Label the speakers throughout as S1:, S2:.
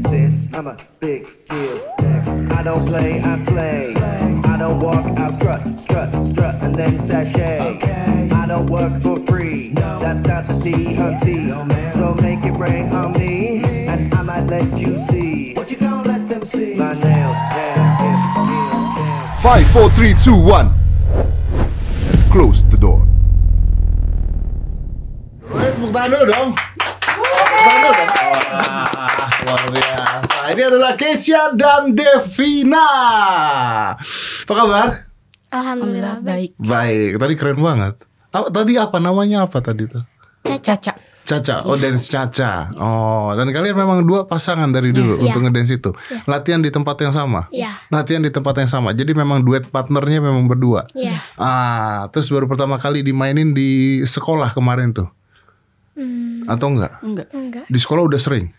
S1: I'm a big deal. I don't play, I slay. I don't walk, I strut, strut, strut, and then sashay. I don't work for free. That's not the tea, her tea. So make it rain on me, and I might let you see. What you gonna let them see? My nails, hair, hips, heels, nails.
S2: 5, 4, 3, 2, 1. And close the door.
S3: Alright, Mukdano dong. Mukdano dong. Wah, luar biasa. Ini adalah Kesia dan Devina. Apa kabar?
S4: Alhamdulillah baik.
S3: Baik, tadi keren banget. Apa- tadi apa namanya apa tadi tuh?
S4: Caca.
S3: Caca, oh dance Caca. Oh, dan kalian memang dua pasangan dari dulu
S4: Iya.
S3: untuk ngedance itu. Latihan di tempat yang sama.
S4: Iya.
S3: Latihan di tempat yang sama. Jadi memang duet partnernya memang berdua.
S4: Iya.
S3: Ah, terus baru pertama kali dimainin di sekolah kemarin tuh. Atau enggak?
S5: Enggak,
S4: Hmm, Enggak.
S3: Di sekolah udah sering.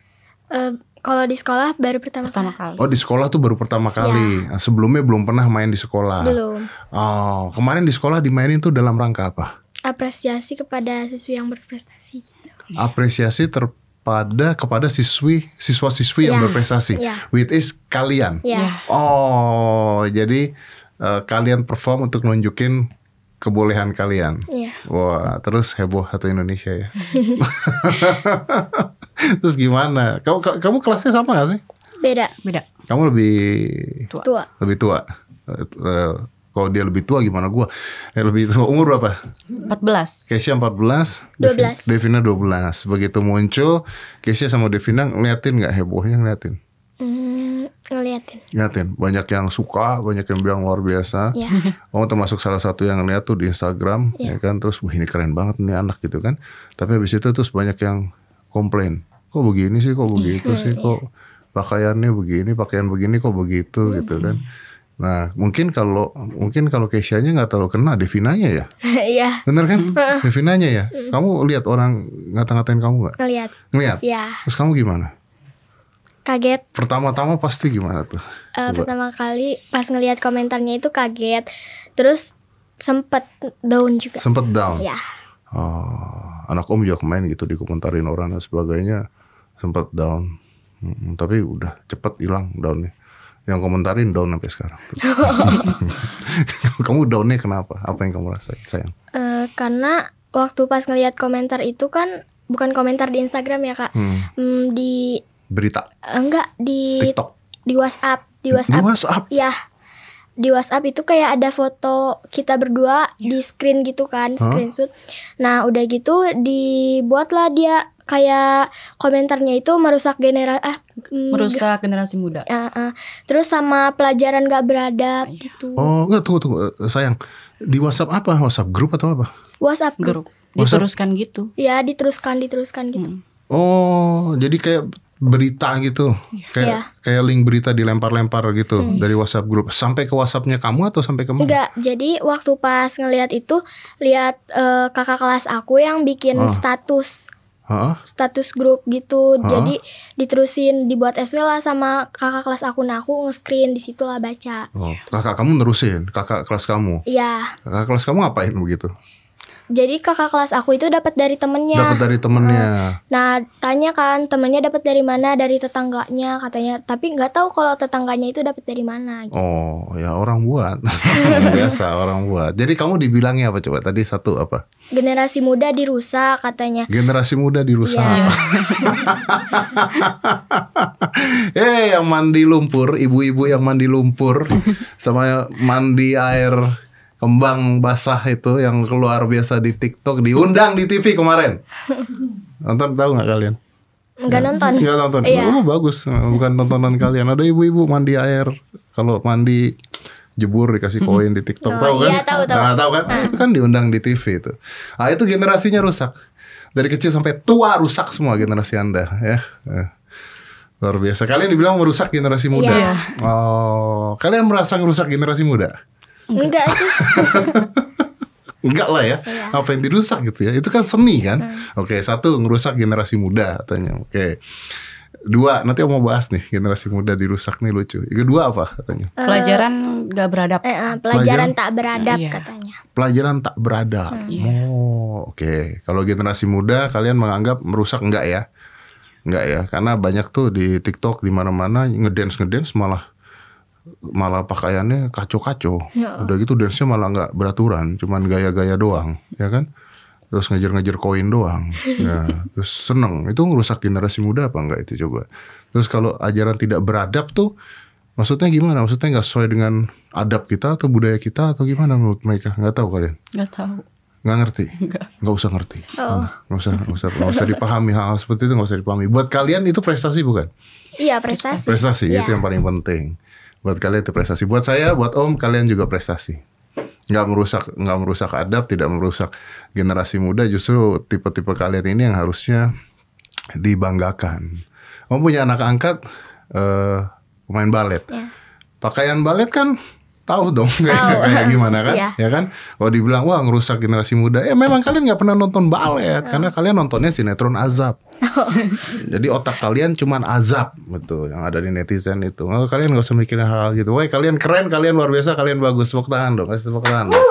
S4: Eh, kalau di sekolah baru pertama,
S5: pertama kali.
S3: Oh, di sekolah tuh baru pertama kali. Nah, Sebelumnya belum pernah main di sekolah.
S4: Ya. Belum.
S3: Oh, kemarin di sekolah dimainin tuh dalam rangka apa?
S4: Apresiasi kepada siswa yang berprestasi. gitu. Ya.
S3: Apresiasi terpada kepada siswi siswa-siswi yang
S4: Ya,
S3: berprestasi.
S4: ya.
S3: Which is kalian.
S4: Ya.
S5: Iya.
S3: Oh, jadi eh, kalian perform untuk nunjukin kebolehan kalian.
S4: Iya.
S3: Wah, terus heboh satu Indonesia ya. terus gimana? Kamu ka- kamu kelasnya sama gak sih?
S4: Beda.
S5: Beda.
S3: Kamu lebih
S5: Tua.
S4: Tua.
S3: lebih tua. Eh, eh, kalau dia lebih tua gimana gua? Eh, lebih tua umur berapa?
S5: 14.
S3: Kesia 14,
S4: 12.
S3: Devina 12. Begitu muncul, Kesia sama Devina ngeliatin nggak hebohnya ngeliatin.
S4: Hmm, ngeliatin.
S3: Ngeliatin, banyak yang suka, banyak yang bilang luar biasa.
S4: Ya.
S3: Kamu Oh, termasuk salah satu yang ngeliat tuh di Instagram, ya kan? Terus wah ini keren banget nih anak gitu kan. Tapi habis itu terus banyak yang komplain. Kok begini sih, kok begitu sih, kok pakaiannya begini, pakaian begini kok begitu gitu kan. Nah, mungkin kalau mungkin kalau Kesianya nggak terlalu kena Devinanya ya.
S4: Iya.
S3: Bener kan? Devinanya ya. Kamu lihat orang ngata-ngatain kamu nggak?
S4: Ngeliat.
S3: Ngeliat.
S4: Ya.
S3: Terus kamu gimana?
S4: Kaget.
S3: Pertama-tama pasti gimana tuh?
S4: Eh, pertama kali pas ngeliat komentarnya itu kaget. Terus sempet down juga.
S3: Sempet down.
S4: Ya.
S3: Oh, anak om juga main gitu dikomentarin orang dan sebagainya sempet down. Mm, tapi udah cepet hilang downnya. Yang komentarin down sampai sekarang. kamu downnya kenapa? Apa yang kamu rasain sayang?
S4: Eh, karena waktu pas ngeliat komentar itu kan bukan komentar di Instagram ya kak.
S3: Hmm,
S4: Hmm, di eh,
S3: berita
S4: enggak di
S3: TikTok.
S4: di WhatsApp di
S3: Di
S4: WhatsApp
S3: WhatsApp.
S4: ya di WhatsApp itu kayak ada foto kita berdua di screen gitu kan
S3: Hah?
S4: screenshot nah udah gitu dibuatlah dia kayak komentarnya itu merusak generasi ah mm,
S5: Merusak generasi muda.
S4: ge- ah, ah. terus sama pelajaran gak beradab gitu
S3: Oh, enggak tunggu tunggu Eh, sayang. Di WhatsApp apa? WhatsApp grup atau apa?
S4: WhatsApp group.
S5: Grup. Diteruskan gitu.
S4: ya diteruskan diteruskan gitu
S3: Oh, jadi kayak berita gitu, kayak
S4: Iya. Hmm.
S3: kayak link berita dilempar-lempar gitu dari WhatsApp grup sampai ke WhatsAppnya kamu atau sampai ke mana?
S4: Enggak, jadi waktu pas ngelihat itu lihat eh, kakak kelas aku yang bikin
S3: Ah.
S4: status
S3: Hah?
S4: status grup gitu
S3: Hah?
S4: jadi diterusin dibuat SW lah sama kakak kelas aku nah aku nge-screen di situ lah baca
S3: Oh, kakak kamu nerusin, kakak kelas kamu,
S4: ya
S3: kakak kelas kamu ngapain begitu?
S4: jadi kakak kelas aku itu dapat dari temennya
S3: Dapat dari temennya.
S4: nah tanya kan temennya dapat dari mana dari tetangganya katanya tapi nggak tahu kalau tetangganya itu dapat dari mana gitu.
S3: Oh, ya orang buat, Orang biasa orang buat. Jadi kamu dibilangnya apa coba? Tadi satu apa?
S4: generasi muda dirusak katanya
S3: Generasi muda dirusak.
S4: Iya.
S3: Eh, yang mandi lumpur, ibu-ibu yang mandi lumpur sama mandi air kembang basah itu yang keluar biasa di TikTok diundang di TV kemarin. Nonton tahu nggak kalian?
S4: nggak nonton
S3: Nggak nonton.
S4: Iya.
S3: Oh, bagus, bukan tontonan kalian. Ada ibu-ibu mandi air kalau mandi jebur dikasih koin di TikTok
S4: Oh,
S3: tahu kan?
S4: iya, tahu, tahu.
S3: Nah, tahu kan? Itu kan diundang di TV itu. Ah, itu generasinya rusak. Dari kecil sampai tua rusak semua generasi Anda ya. Eh, Luar biasa. Kalian dibilang merusak generasi muda.
S4: Iya.
S3: Oh, kalian merasa ngerusak generasi muda?
S4: enggak sih
S3: Enggak lah ya. Apa yang dirusak gitu ya? Itu kan seni kan. Oke, satu ngerusak generasi muda katanya. Oke. Dua, nanti mau bahas nih generasi muda dirusak nih lucu. Yang kedua apa katanya?
S5: Eh. Pelajaran gak beradab.
S4: Eh, eh, pelajaran
S3: Pelajaran?
S4: tak beradab
S5: Iya.
S4: katanya
S3: Pelajaran tak berada.
S5: Iya.
S3: Oh, oke. Kalau generasi muda kalian menganggap merusak enggak ya? Enggak ya, karena banyak tuh di TikTok di mana-mana ngedance ngedance malah malah pakaiannya kaco-kaco.
S4: Ya.
S3: Udah gitu dance-nya malah nggak beraturan, cuman gaya-gaya doang, ya kan? Terus ngejar-ngejar koin doang. Ya, terus seneng. Itu ngerusak generasi muda apa enggak itu coba? Terus kalau ajaran tidak beradab tuh maksudnya gimana? Maksudnya nggak sesuai dengan adab kita atau budaya kita atau gimana menurut mereka? Nggak tahu kalian.
S5: Nggak tahu.
S3: Nggak ngerti?
S5: Nggak.
S3: Nggak usah ngerti.
S4: Oh.
S3: Nggak usah, nggak usah, nggak usah dipahami hal-hal seperti itu nggak usah dipahami. Buat kalian itu prestasi bukan?
S4: Iya prestasi.
S3: Prestasi
S4: Iya.
S3: itu yang paling penting. Buat kalian itu prestasi. Buat saya, buat Om kalian juga prestasi. Nggak merusak, nggak merusak adab, tidak merusak generasi muda. Justru tipe-tipe kalian ini yang harusnya dibanggakan. Om punya anak angkat eh pemain balet.
S4: Iya.
S3: Pakaian balet kan tahu dong kayak, kayak gimana kan
S4: Iya.
S3: ya kan kalau dibilang wah ngerusak generasi muda ya memang kalian nggak pernah nonton balet
S4: Iya.
S3: karena kalian nontonnya sinetron azab jadi otak kalian cuman azab betul yang ada di netizen itu. Nggak, kalian gak usah mikirin hal-hal gitu. Woi kalian keren, kalian luar biasa, kalian bagus. Tepuk tangan dong, kasih tepuk tangan. dong.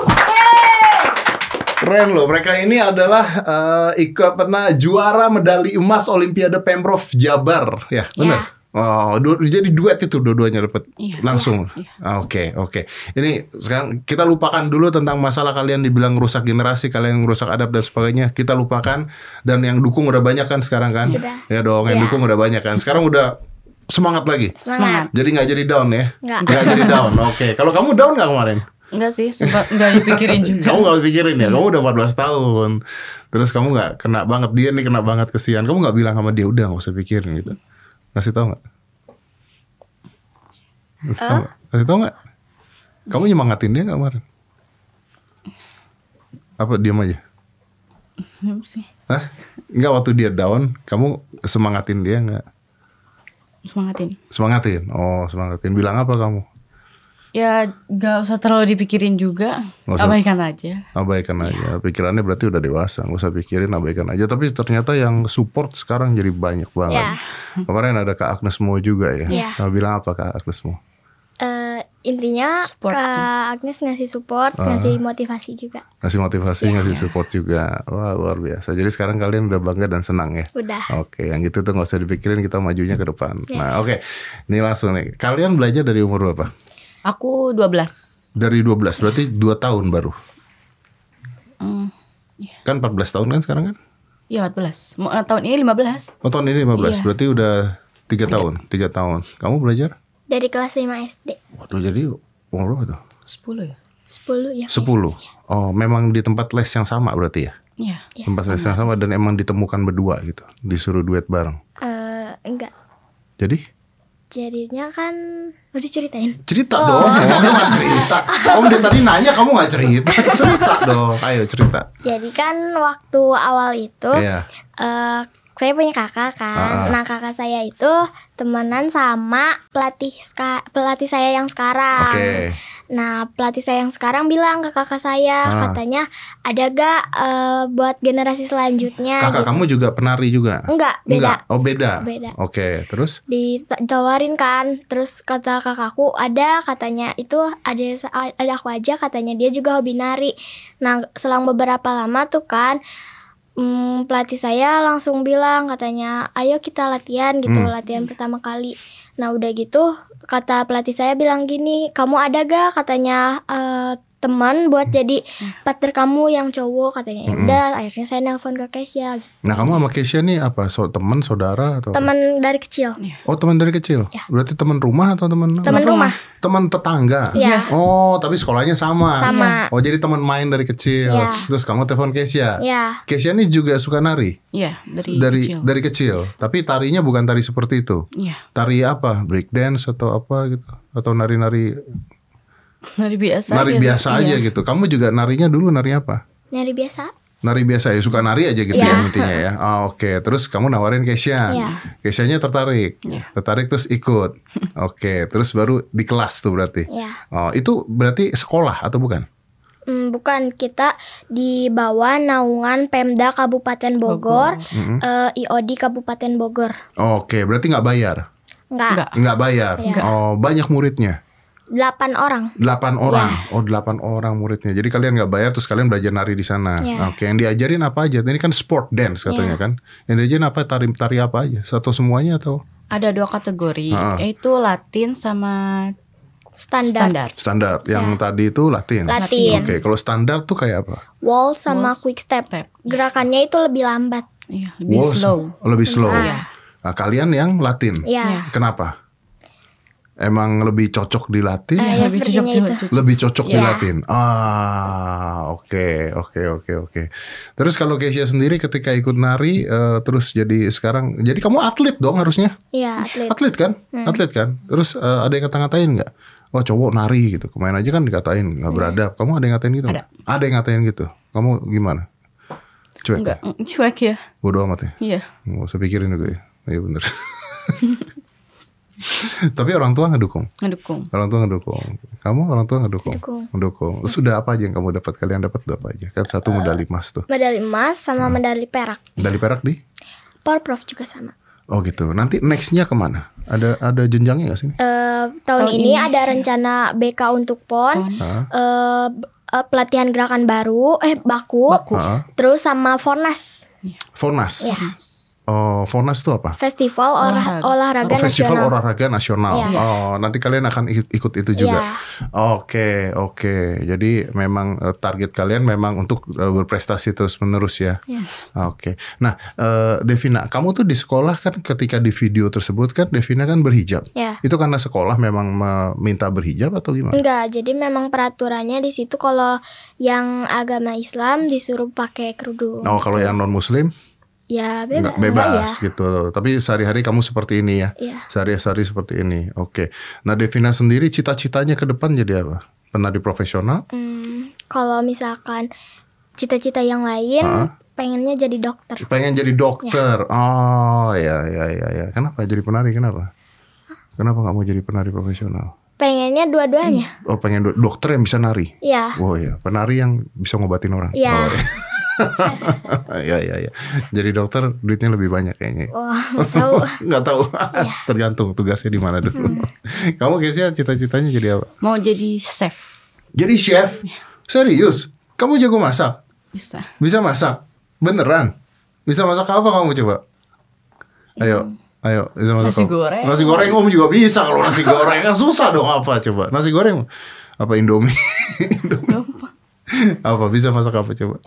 S3: Keren loh, mereka ini adalah eh ikut pernah juara medali emas Olimpiade Pemprov Jabar, ya benar. Oh, du- jadi duet itu dua-duanya dapat
S5: Iya.
S3: langsung.
S5: Iya.
S3: Ah, Oke, oke. Ini sekarang kita lupakan dulu tentang masalah kalian dibilang rusak generasi, kalian rusak adab dan sebagainya. Kita lupakan dan yang dukung udah banyak kan sekarang kan?
S4: Sudah.
S3: Ya dong, yang
S4: Iya.
S3: dukung udah banyak kan. Sekarang udah semangat lagi.
S4: Semangat.
S3: Jadi nggak jadi down ya?
S4: Nggak.
S3: jadi down. Oke. Kalau kamu down nggak kemarin?
S5: Enggak sih, sempat nggak dipikirin juga.
S3: Kamu nggak pikirin ya? Kamu udah 14 tahun. Terus kamu nggak kena banget dia nih kena banget kesian. Kamu nggak bilang sama dia udah nggak usah pikirin gitu. Kasih tau nggak? Kasih
S4: Eh?
S3: tau nggak? Kasih tau nggak? Kamu nyemangatin dia nggak kemarin? Apa diam aja?
S5: Belum sih.
S3: Hah? Nggak waktu dia down, kamu semangatin dia nggak?
S5: Semangatin.
S3: Semangatin. Oh, semangatin. Bilang apa kamu?
S5: Ya nggak usah terlalu dipikirin juga.
S3: Nggak usah.
S5: Abaikan aja.
S3: Abaikan aja. Pikirannya berarti udah dewasa, nggak usah pikirin abaikan aja. Tapi ternyata yang support sekarang jadi banyak banget.
S4: Ya.
S3: Kemarin ada Kak Agnes Mo juga ya.
S4: Iya.
S3: Nah, bilang apa Kak Agnes Mo?
S4: Eh, intinya
S5: Support,
S4: Kak Agnes ngasih support,
S3: Ah.
S4: ngasih motivasi juga.
S3: Ngasih motivasi, ngasih support juga. Wah, luar biasa. Jadi sekarang kalian udah bangga dan senang ya.
S4: Udah.
S3: Oke, yang gitu tuh nggak usah dipikirin kita majunya ke depan. Nah, oke. Ini langsung nih. Kalian belajar dari umur berapa?
S5: Aku 12.
S3: Dari 12, berarti 2 tahun baru.
S5: Hmm.
S3: Kan 14 tahun kan sekarang kan?
S5: Iya 14. Mau- eh, Tahun ini 15.
S3: Oh, tahun ini 15.
S5: Iya.
S3: Berarti udah 3 tahun, 3 tahun. Kamu belajar?
S4: Dari kelas 5 SD.
S3: Waduh, jadi umur berapa tuh?
S5: 10 ya?
S4: 10 ya.
S3: 10. Oh, memang di tempat les yang sama berarti ya?
S5: Iya.
S3: Tempat les yang sama dan emang ditemukan berdua gitu. Disuruh duet bareng.
S4: Eh, enggak.
S3: Jadi
S4: Jadinya kan udah ceritain.
S3: cerita dong, Om nggak cerita. Om dari tadi nanya kamu nggak cerita, cerita dong. Ayo cerita.
S4: Jadi kan waktu awal itu
S3: Iya.
S4: eh, saya punya kakak
S3: Ah, ah.
S4: kan. Nah, kakak saya itu temenan sama pelatih ska- pelatih saya yang sekarang.
S3: Oke.
S4: Nah, pelatih saya yang sekarang bilang ke kakak saya
S3: Ah.
S4: katanya ada gak eh, buat generasi selanjutnya
S3: Kakak
S4: gitu.
S3: kamu juga penari juga?
S4: Enggak, beda.
S3: Enggak. Oh beda.
S4: Beda.
S3: Oke, terus?
S4: ditawarin kan terus kata kakakku ada katanya itu ada ada aku aja katanya dia juga hobi nari nah selang beberapa lama tuh kan mm, pelatih saya langsung bilang katanya ayo kita latihan gitu
S3: Hmm.
S4: latihan pertama kali nah udah gitu kata pelatih saya bilang gini kamu ada ga katanya eh, teman buat jadi partner kamu yang cowok katanya "Ya
S3: Mm-mm.
S4: udah akhirnya saya nelpon ke Kesia
S3: Nah kamu sama Keisha nih apa? So, teman, saudara atau?
S4: teman dari kecil
S3: Oh teman dari kecil?
S4: Ya.
S3: Berarti teman rumah atau teman?
S4: teman rumah
S3: Teman tetangga?
S4: Iya.
S3: Oh tapi sekolahnya sama?
S4: Sama.
S3: Oh jadi teman main dari kecil.
S4: Iya.
S3: Terus kamu telepon Keisha.
S4: ya
S3: Keisha nih juga suka nari
S5: Iya, dari,
S3: dari
S5: kecil.
S3: dari kecil. Tapi tarinya bukan tari seperti itu.
S5: Iya,
S3: Tari apa? Break dance atau apa gitu? Atau nari-nari
S5: dari biasa.
S3: nari
S5: dia-
S3: biasa aja
S5: iya.
S3: gitu. Kamu juga narinya dulu nari apa?
S4: nyari biasa
S3: Nari biasa ya, suka nari aja gitu ya
S4: Iya.
S3: intinya ya. Ah, Oke, terus kamu nawarin Keisha.
S4: Iya.
S3: Keishanya tertarik.
S5: Iya.
S3: Tertarik terus ikut. Oke, terus baru di kelas tuh berarti.
S4: ya
S3: Oh, itu berarti sekolah atau bukan?
S4: Hmm, bukan kita di bawah naungan Pemda Kabupaten Bogor,
S3: Mm-mm.
S4: eh, IOD Kabupaten Bogor.
S3: Oke, berarti nggak bayar.
S4: Enggak.
S5: Enggak.
S3: Nggak bayar.
S4: Iya.
S3: Oh, banyak muridnya.
S4: delapan orang. Iya.
S3: Delapan orang, oh delapan orang muridnya. Jadi kalian nggak bayar terus kalian belajar nari di sana.
S4: Iya.
S3: Oke, yang diajarin apa aja? Ini kan sport dance katanya kan. Yang diajarin apa? Tari tari apa aja? Atau semuanya atau
S5: Ada dua kategori,
S3: Ah.
S5: yaitu Latin sama
S4: Standar.
S5: standar.
S3: standar?
S4: Iya.
S3: Yang tadi itu Latin.
S4: Latin.
S3: Oke, kalau standar tuh kayak apa?
S4: Wall sama
S5: Wall
S4: quick step.
S5: step.
S4: Gerakannya itu lebih lambat.
S5: Iya, lebih
S3: Waltz,
S5: slow.
S3: Oh, Lebih slow.
S4: Iya.
S3: Nah, kalian yang Latin.
S4: Ya.
S3: Kenapa? Emang lebih cocok di Latin?
S4: Eh, ya,
S5: lebih cocok
S4: sepertinya
S5: di
S4: itu.
S5: Latin.
S3: Lebih cocok di
S4: Iya.
S3: Latin. Ah, oke, oke, oke, oke. Terus kalau Kesia sendiri ketika ikut nari, eh, terus jadi sekarang, jadi kamu atlet dong harusnya,
S4: Iya, atlet. Hmm.
S3: atlet kan, atlet kan. Terus eh, ada yang ngata-ngatain nggak? Wah cowok nari gitu, kemarin aja kan dikatain
S4: Iya.
S3: nggak beradab. Kamu ada yang ngatain gitu? nggak? Ada yang ngatain gitu. Kamu gimana? Cuek.
S5: Enggak, mm, cuek ya.
S3: Bodoh amat ya.
S5: Iya.
S3: Nggak usah pikirin juga ya. Iya bener. Tapi orang tua ngedukung.
S5: Ngedukung.
S3: Orang tua ngedukung. Kamu orang tua ngedukung.
S4: Ngedukung.
S3: Ngedukung. Sudah apa aja yang kamu dapat? Kalian dapat apa aja? Kan satu medali emas tuh.
S4: Medali emas sama medali perak.
S3: Medali perak di?
S4: Powerproof juga sama.
S3: Oh gitu. Nanti nextnya kemana? Ada ada jenjangnya nggak sih? ini?
S4: Eh, tahun, ini, ada rencana BK untuk PON,
S3: Hah?
S4: eh, b- eh, pelatihan gerakan baru, eh baku,
S3: Hah?
S4: terus sama Fornas
S3: Fornas. Oh, Fornas itu apa?
S4: Festival olah-
S5: Olahraga.
S4: olahraga
S3: Oh, Festival
S4: nasional.
S3: Olahraga Nasional.
S4: Iya.
S3: Oh, nanti kalian akan ikut, ikut itu juga. Oke, oke. Jadi memang eh, target kalian memang untuk eh, berprestasi terus-menerus ya.
S4: Iya.
S3: Oke. Nah, eh, Devina, kamu tuh di sekolah kan ketika di video tersebut kan Devina kan berhijab.
S4: Iya.
S3: Itu karena sekolah memang meminta berhijab atau gimana?
S4: Enggak, jadi memang peraturannya di situ kalau yang agama Islam disuruh pakai kerudung.
S3: Oh, kalau yang non muslim
S4: Ya bebas.
S3: bebas, bebas gitu. Tapi sehari-hari kamu seperti ini ya.
S4: Iya.
S3: Sehari-hari seperti ini. Oke. Nah, Devina sendiri cita-citanya ke depan jadi apa? Penari profesional?
S4: Hmm, kalau misalkan cita-cita yang lain,
S3: Hah?
S4: pengennya jadi dokter.
S3: pengen jadi dokter. Oh, ya ya ya ya. Kenapa jadi penari? Kenapa? Kenapa nggak mau jadi penari profesional?
S4: Pengennya dua-duanya.
S3: Oh, pengen do- dokter yang bisa nari.
S4: Iya.
S3: Oh ya, penari yang bisa ngobatin orang.
S4: Iya.
S3: Oh, ya. ya ya ya. Jadi dokter duitnya lebih banyak kayaknya.
S4: Wah, tahu.
S3: Nggak tahu. Tergantung tugasnya di mana dulu. Kamu kayaknya cita-citanya jadi apa?
S5: Mau jadi chef.
S3: Jadi chef. Serius? Kamu jago masak?
S5: Bisa.
S3: Bisa masak? Beneran? Bisa masak apa kamu coba? Ayo, ayo bisa masak
S5: Hmm. Nasi
S3: apa?
S5: goreng.
S3: Nasi goreng om juga bisa kalau nasi goreng kan susah dong apa coba? Nasi goreng apa Indomie? Indomie.
S5: Gampang.
S3: apa bisa masak apa coba?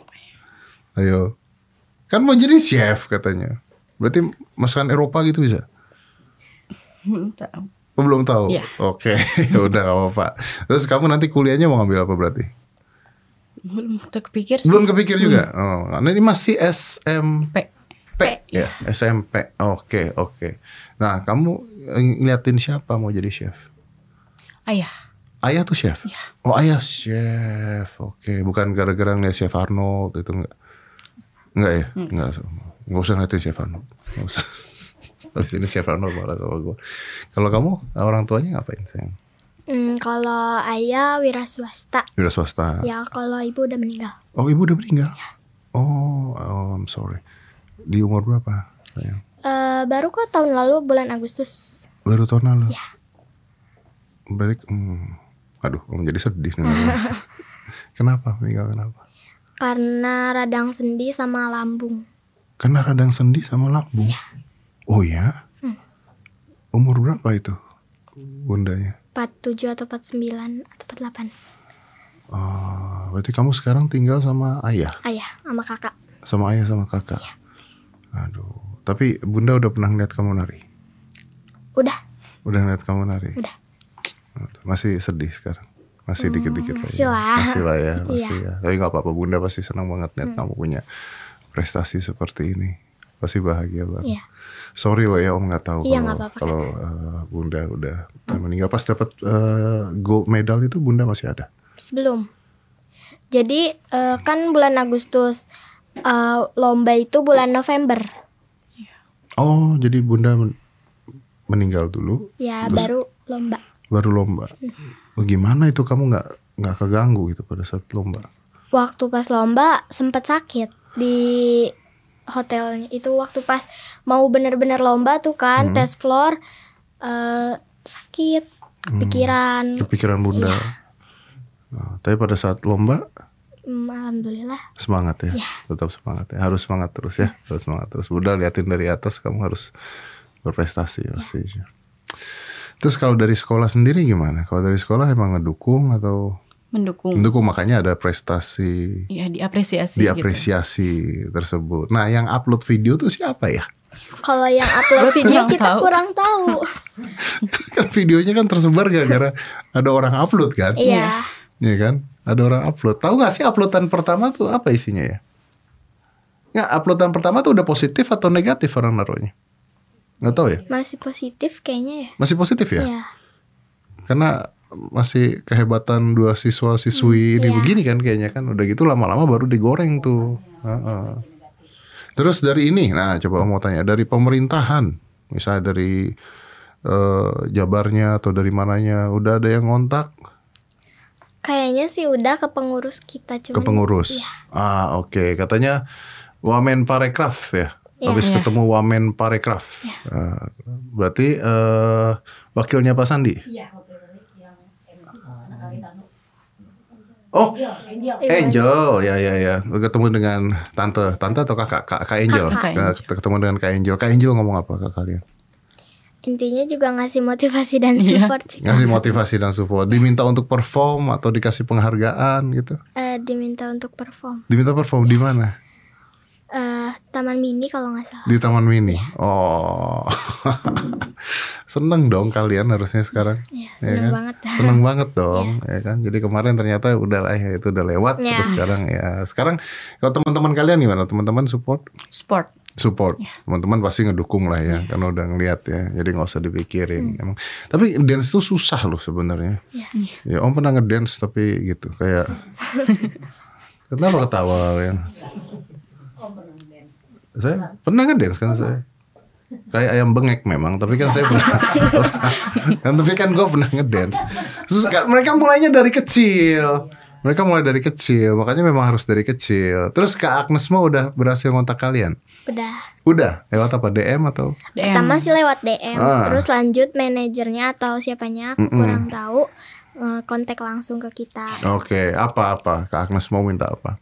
S3: Ayo. Kan mau jadi chef katanya. Berarti masakan Eropa gitu bisa?
S5: Belum tahu.
S3: Oh, belum tahu.
S5: Iya.
S3: Oke, ya udah gak apa-apa. Terus kamu nanti kuliahnya mau ngambil apa berarti?
S5: Belum terpikir sih.
S3: Belum kepikir juga.
S5: Hmm.
S3: Oh, karena ini masih SM
S5: P.
S3: SMP ya SMP oke oke nah kamu eh, ngeliatin siapa mau jadi chef
S5: Ayah.
S3: ayah tuh chef oh ayah chef oke bukan gara-gara ngeliat chef Arnold itu enggak enggak ya enggak enggak usah ngeliatin chef Arnold Nggak usah Habis ini chef Arnold marah sama gue kalau kamu orang tuanya ngapain sayang
S4: Hmm, kalau ayah wira swasta,
S3: udah swasta
S4: ya kalau ibu udah meninggal.
S3: oh ibu udah meninggal oh, oh I'm sorry di umur berapa sayang
S4: Eh, baru kok tahun lalu bulan Agustus.
S3: Baru tahun lalu. Berarti, hmm, aduh, om jadi sedih nih. kenapa meninggal kenapa?
S4: Karena radang sendi sama lambung.
S3: Karena radang sendi sama lambung. Oh ya? Umur berapa itu bundanya?
S4: 47 atau 49 atau 48.
S3: Oh, berarti kamu sekarang tinggal sama ayah,
S4: Ayah sama kakak.
S3: sama ayah sama kakak. Aduh, tapi bunda udah pernah lihat kamu nari?
S4: Udah,
S3: Udah ngeliat kamu nari?
S4: Udah. Hmm,
S3: Masih sedih sekarang? Masih dikit-dikit lah
S4: masih
S3: ya.
S4: lah.
S3: Masih lah ya,
S4: Iya. Hmm.
S3: masih ya. Tapi nggak apa-apa, Bunda pasti senang banget lihat kamu punya prestasi seperti ini. Pasti bahagia banget.
S4: Iya.
S3: Sorry loh ya Om nggak tahu
S4: Iya,
S3: kalau
S4: nggak apa-apa, Kak.
S3: kalau eh, Bunda udah meninggal. Pas dapat eh, gold medal itu Bunda masih ada.
S4: sebelum. Jadi eh, kan bulan Agustus eh, lomba itu bulan November.
S3: Oh, jadi Bunda men- meninggal dulu,
S4: Ya,
S3: Terus-
S4: baru lomba.
S3: baru lomba.
S4: Hmm.
S3: Oh, gimana itu kamu nggak nggak keganggu gitu pada saat lomba?
S4: Waktu pas lomba sempat sakit di hotelnya. Itu waktu pas mau bener-bener lomba tuh kan tes floor eh, sakit. pikiran.
S3: kepikiran bunda. Nah, tapi pada saat lomba
S4: Hmm, alhamdulillah.
S3: semangat ya, tetap semangat ya, harus semangat terus ya, harus semangat terus. Bunda liatin dari atas, kamu harus berprestasi pastinya. Terus kalau dari sekolah sendiri gimana? Kalau dari sekolah emang ngedukung atau
S5: mendukung.
S3: mendukung makanya ada prestasi
S5: Iya diapresiasi. Iya. gitu.
S3: diapresiasi tersebut. Nah, yang upload video tuh siapa ya?
S4: Kalau yang upload video
S5: Kurang
S4: kita
S5: tahu.
S4: kurang tahu.
S3: kan videonya kan tersebar gara-gara ada orang upload kan?
S4: Iya.
S3: Iya kan? Ada orang upload. Tahu gak sih uploadan pertama tuh apa isinya ya? Nggak, uploadan pertama tuh udah positif atau negatif orang naruhnya? Nggak tahu ya?
S4: Masih positif kayaknya ya.
S3: Masih positif ya?
S4: Iya.
S3: Karena masih kehebatan dua siswa-siswi ini
S4: iya.
S3: begini kan kayaknya kan. Udah gitu lama-lama baru digoreng tuh. Heeh. Terus dari ini, nah coba mau tanya dari pemerintahan, misalnya dari eh, Jabarnya atau dari mananya, udah ada yang ngontak?
S4: Kayaknya sih udah ke pengurus kita cuman
S3: ke pengurus.
S4: Iya.
S3: Ah, oke. Katanya Wamen Parekraf ya.
S4: Iya.
S3: Habis
S5: Iya.
S3: ketemu Wamen Parekraf. Ah, berarti eh, wakilnya Pak Sandi.
S4: Iya,
S3: Oh,
S4: Iya.
S3: Angel, ya ya ya. Ketemu dengan tante, tante atau kakak, kak, Kak Angel.
S5: Kakak.
S3: Nah, ketemu dengan Kak Angel. Kak Angel ngomong apa ke kalian?
S4: Intinya juga ngasih motivasi dan
S5: Iya.
S4: support sih.
S3: Ngasih motivasi dan support. Diminta untuk perform atau dikasih penghargaan gitu.
S4: Eh, diminta untuk perform.
S3: Diminta perform di mana?
S4: Eh, Taman Mini kalau nggak salah.
S3: di Taman Mini. Oh, seneng dong kalian harusnya sekarang.
S4: Iya,
S3: Ya
S4: seneng
S3: kan?
S4: banget.
S3: Seneng banget dong, ya kan. Jadi kemarin ternyata udah lah ya itu udah lewat.
S4: Ya.
S3: Terus sekarang ya sekarang kalau teman-teman kalian gimana? Teman-teman support,
S5: Sport.
S3: support. Teman-teman pasti ngedukung lah ya, karena udah ngeliat ya. Jadi nggak usah dipikirin. Emang, tapi dance tuh susah loh sebenarnya.
S4: Iya.
S3: Ya Om pernah ngedance tapi gitu kayak. Kenapa ketawa kalian? Saya pernah ngedance kan saya. Kayak ayam bengek memang, tapi kan saya pernah. kan tapi kan gue pernah ngedance. Terus kan mereka mulainya dari kecil. Mereka mulai dari kecil, makanya memang harus dari kecil. Terus Kak Agnes mah udah berhasil ngontak kalian?
S4: Udah.
S3: Udah, lewat apa DM atau?
S5: DM.
S4: Pertama sih lewat DM,
S3: Ah.
S4: terus lanjut manajernya atau siapanya aku
S3: Mm-mm.
S4: kurang tahu eh, kontak langsung ke kita.
S3: Oke, apa-apa? Kak Agnes mau minta apa?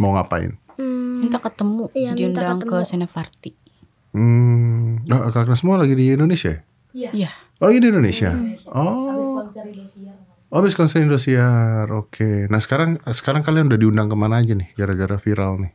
S3: Mau ngapain?
S4: Hmm,
S5: minta ketemu
S4: Iya, minta
S5: diundang
S4: ketemu.
S5: ke Senevarti.
S3: Hmm, oh, Kak Agnes mau lagi di Indonesia? ya?
S5: Iya.
S3: Oh, lagi di Indonesia.
S4: Hmm.
S3: Oh. Habis konser Indosiar. Oke. Nah, sekarang sekarang kalian udah diundang kemana aja nih gara-gara viral nih? Eh,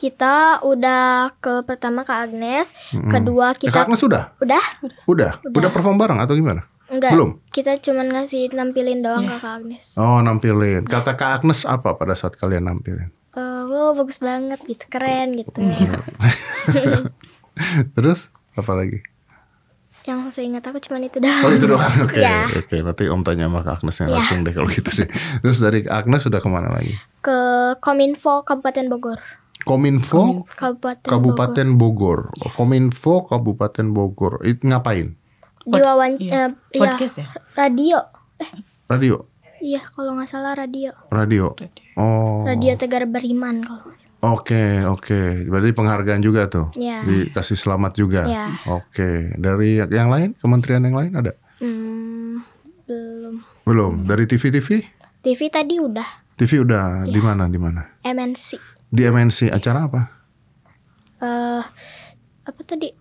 S4: kita udah ke pertama ke Agnes,
S3: Mm-mm.
S4: kedua
S3: Eh, Kak
S4: kita
S3: Agnes udah?
S4: udah
S3: Udah. Udah, perform bareng atau gimana?
S4: enggak.
S3: Belum?
S4: Kita cuman ngasih nampilin doang ke Kak Agnes.
S3: Oh, nampilin. Kata Kak Agnes apa pada saat kalian nampilin?
S4: Eh, wow, bagus banget gitu, keren gitu.
S3: Iya. Terus apa lagi?
S4: Yang seingat aku cuman itu doang.
S3: Oh itu doang. Oke.
S4: Iya.
S3: Oke, nanti Om tanya sama Kak Agnesnya
S4: Iya.
S3: langsung deh kalau gitu deh. Terus dari Kak Agnes udah kemana lagi?
S4: Ke Kominfo Kabupaten Bogor.
S3: Kominfo
S4: Kabupaten, Bogor.
S3: Kabupaten Bogor. Oh, Kominfo Kabupaten Bogor. Itu ngapain?
S4: Diwawancara
S5: Iya.
S4: eh, iya,
S5: Podcast ya.
S4: radio. Eh,
S3: Radio.
S4: Iya, kalau nggak salah radio.
S3: Radio. Oh.
S4: Radio Tegar Beriman kalau nggak salah.
S3: Oke, oke. Berarti penghargaan juga tuh.
S4: Iya.
S3: Dikasih selamat juga.
S4: Iya.
S3: Oke. Dari yang lain, kementerian yang lain ada?
S4: Hmm, belum.
S3: Belum. Dari TV-TV?
S4: TV tadi udah
S3: TV udah di mana di mana?
S4: MNC.
S3: Di MNC acara apa?
S4: Eh apa tadi?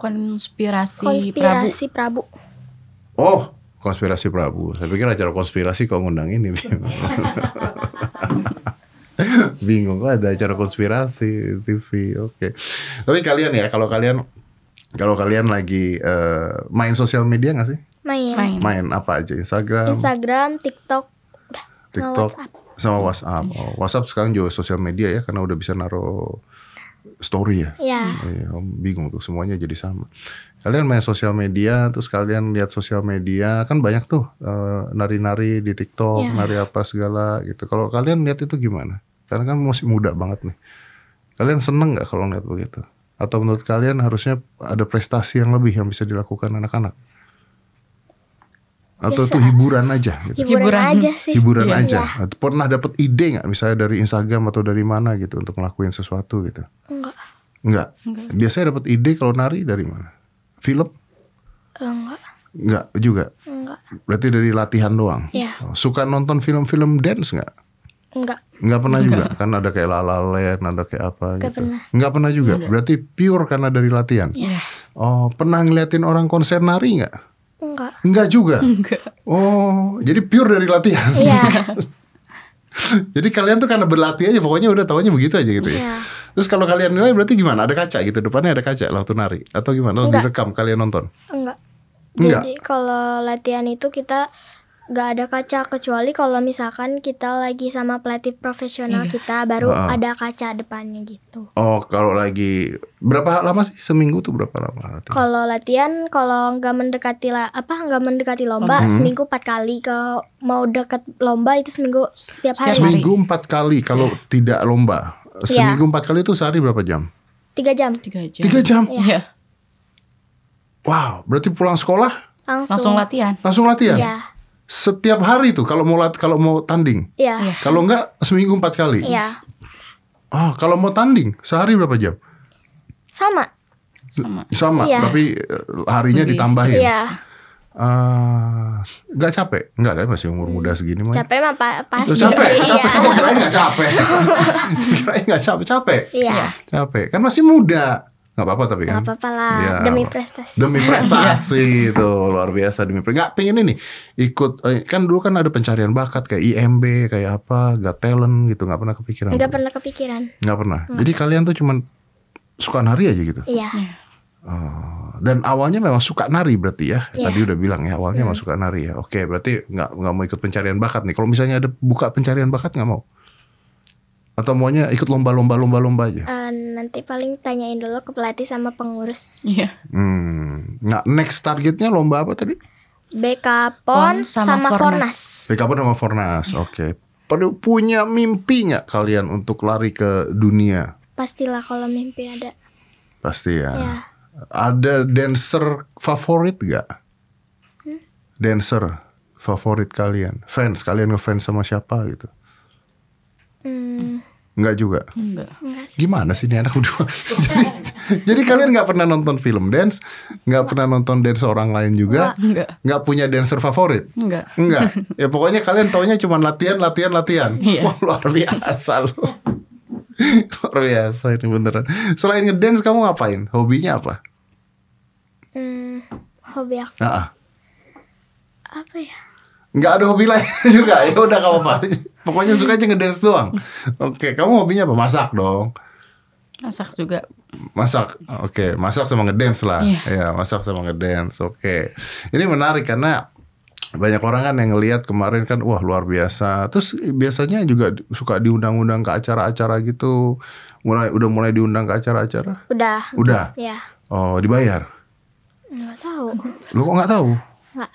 S5: Konspirasi, Prabu.
S4: Konspirasi Prabu.
S3: Oh, konspirasi Prabu. Saya pikir acara konspirasi kok ngundang ini. Bingung kok ada acara konspirasi TV. Oke. Tapi kalian ya, kalau kalian kalau kalian lagi eh, main sosial media nggak sih?
S4: Main.
S5: Main.
S3: Main apa aja? Instagram,
S4: Instagram, TikTok, udah. Sama
S3: TikTok,
S4: WhatsApp.
S3: sama WhatsApp. Oh, WhatsApp sekarang juga sosial media ya karena udah bisa naruh story ya.
S4: Ya,
S5: Hmm.
S3: Iya, om bingung tuh semuanya jadi sama. Kalian main sosial media, terus kalian lihat sosial media, kan banyak tuh eh, nari-nari di TikTok,
S4: Iya.
S3: nari apa segala gitu. Kalau kalian lihat itu gimana? Karena kan masih muda banget nih. Kalian seneng nggak kalau lihat begitu? Atau menurut kalian harusnya ada prestasi yang lebih yang bisa dilakukan anak-anak? Atau
S4: Biasa.
S3: tuh hiburan aja? Gitu?
S4: hiburan,
S5: Hiburan.
S4: aja sih.
S3: hiburan
S5: Iya.
S3: aja. Atau Pernah dapat ide nggak misalnya dari Instagram atau dari mana gitu untuk ngelakuin sesuatu gitu?
S4: Enggak.
S3: Enggak.
S5: Enggak.
S3: Biasanya dapat ide kalau nari dari mana? Film?
S4: Enggak.
S3: Enggak juga.
S4: Enggak. enggak
S3: Berarti dari latihan doang. Oh,
S4: Iya.
S3: Suka nonton film-film dance nggak?
S4: enggak
S3: Nggak pernah juga kan ada kayak La La Land, ada kayak apa
S4: Nggak
S3: gitu.
S4: pernah.
S3: Nggak pernah juga. Berarti pure karena dari latihan.
S5: Iya.
S3: Oh, pernah ngeliatin orang konser nari nggak?
S4: enggak
S3: Nggak juga.
S5: Enggak.
S3: Oh, jadi pure dari latihan.
S4: Hmm. iya
S3: jadi kalian tuh karena berlatih aja pokoknya udah taunya begitu aja gitu ya.
S4: Iya.
S3: Terus kalau kalian nilai berarti gimana? Ada kaca gitu depannya ada kaca waktu nari atau gimana? Lalu
S4: Nggak.
S3: direkam kalian nonton.
S4: enggak
S3: Enggak.
S4: jadi kalau latihan itu kita nggak ada kaca kecuali kalau misalkan kita lagi sama pelatih profesional kita baru
S3: Ah.
S4: ada kaca depannya gitu
S3: Oh, kalau lagi berapa lama sih seminggu tuh berapa lama? latihan?
S4: Kalau latihan, kalau nggak mendekati la, apa nggak mendekati lomba, seminggu empat kali. Kalau mau dekat lomba itu seminggu setiap hari
S5: Setiap
S3: Seminggu empat kali kalau tidak lomba.
S4: Iya.
S3: Seminggu empat kali itu sehari berapa jam?
S4: tiga jam
S5: Tiga jam.
S3: Tiga jam.
S5: Iya.
S3: Wow, berarti pulang sekolah
S4: langsung.
S5: Langsung latihan.
S3: langsung latihan.
S4: Iya,
S3: Setiap hari tuh kalau mau lat- kalau mau tanding.
S4: iya,
S5: Iya.
S3: Kalau enggak seminggu empat kali.
S4: iya.
S3: Ah, kalau mau tanding sehari berapa jam?
S4: Sama.
S5: Sama.
S3: Sama,
S4: Iya.
S3: tapi eh, harinya
S5: Lebih-
S3: ditambahin.
S4: Iya.
S3: Ah, nggak capek? Nggak ada masih umur
S4: Hmm.
S3: muda segini mah. ya.
S4: Capek mah pa-
S3: Loh,
S4: pasti.
S3: capek, capek.
S4: Iya.
S3: Kamu kirain nggak capek? kirain nggak capek, capek.
S4: Iya.
S3: Capek, kan masih muda. Nggak apa-apa tapi
S4: Nggak
S3: kan.
S4: apa-apa lah.
S3: Iya.
S4: Demi prestasi.
S3: Demi prestasi itu luar biasa demi prestasi. Nggak pengen ini ikut eh, kan dulu kan ada pencarian bakat kayak IMB kayak apa, nggak talent gitu nggak pernah kepikiran.
S4: Nggak pernah kepikiran.
S3: Nggak pernah. Jadi kalian tuh cuman suka nari aja gitu.
S4: Iya.
S3: Oh, dan awalnya memang suka nari berarti ya.
S4: Iya.
S3: Tadi udah bilang ya awalnya memang suka nari ya. Oke, berarti nggak nggak mau ikut pencarian bakat nih. Kalau misalnya ada buka pencarian bakat nggak mau? Atau maunya ikut lomba-lomba lomba-lomba aja?
S4: Eh, nanti paling tanyain dulu ke pelatih sama pengurus.
S5: Iya.
S3: Hmm, nggak next targetnya lomba apa tadi?
S4: BK Pon
S5: Pon sama
S4: sama,
S5: Fornas.
S4: Fornas.
S3: PKP sama Fornas. Oke. Perlu punya mimpi nggak kalian untuk lari ke dunia?
S4: Pastilah kalau mimpi ada.
S3: Pasti ya.
S4: Iya.
S3: Ada dancer favorit nggak?
S4: Hmm?
S3: Dancer favorit kalian, fans kalian ngefans sama siapa gitu?
S4: Hmm,
S3: Nggak juga.
S5: Enggak.
S3: Gimana sih ini anak berdua? jadi, jadi kalian nggak pernah nonton film dance, nggak pernah nonton dance orang lain juga,
S5: Enggak.
S3: nggak punya dancer favorit.
S5: Enggak.
S3: Enggak. Ya pokoknya kalian taunya cuma latihan, latihan, latihan.
S5: Iya.
S3: Wah, luar biasa lu. luar biasa ini beneran. Selain ngedance kamu ngapain? Hobinya apa?
S4: hmm, hobi aku
S3: Heeh.
S4: apa ya?
S3: Enggak ada hobi lain juga. Ya udah gak apa-apa. Pokoknya suka aja ngedance doang. Oke, kamu hobinya apa? Masak dong.
S5: Masak juga.
S3: Masak. Oke, masak sama ngedance lah.
S5: Iya.
S3: Iya, masak sama ngedance. Oke. Ini menarik karena banyak orang kan yang ngelihat kemarin kan wah luar biasa. Terus biasanya juga suka diundang-undang ke acara-acara gitu. Mulai udah mulai diundang ke acara-acara.
S4: Udah.
S3: Udah.
S4: Ya,
S3: Oh, dibayar.
S4: nggak tahu.
S3: Lu kok nggak tahu?
S4: Nggak.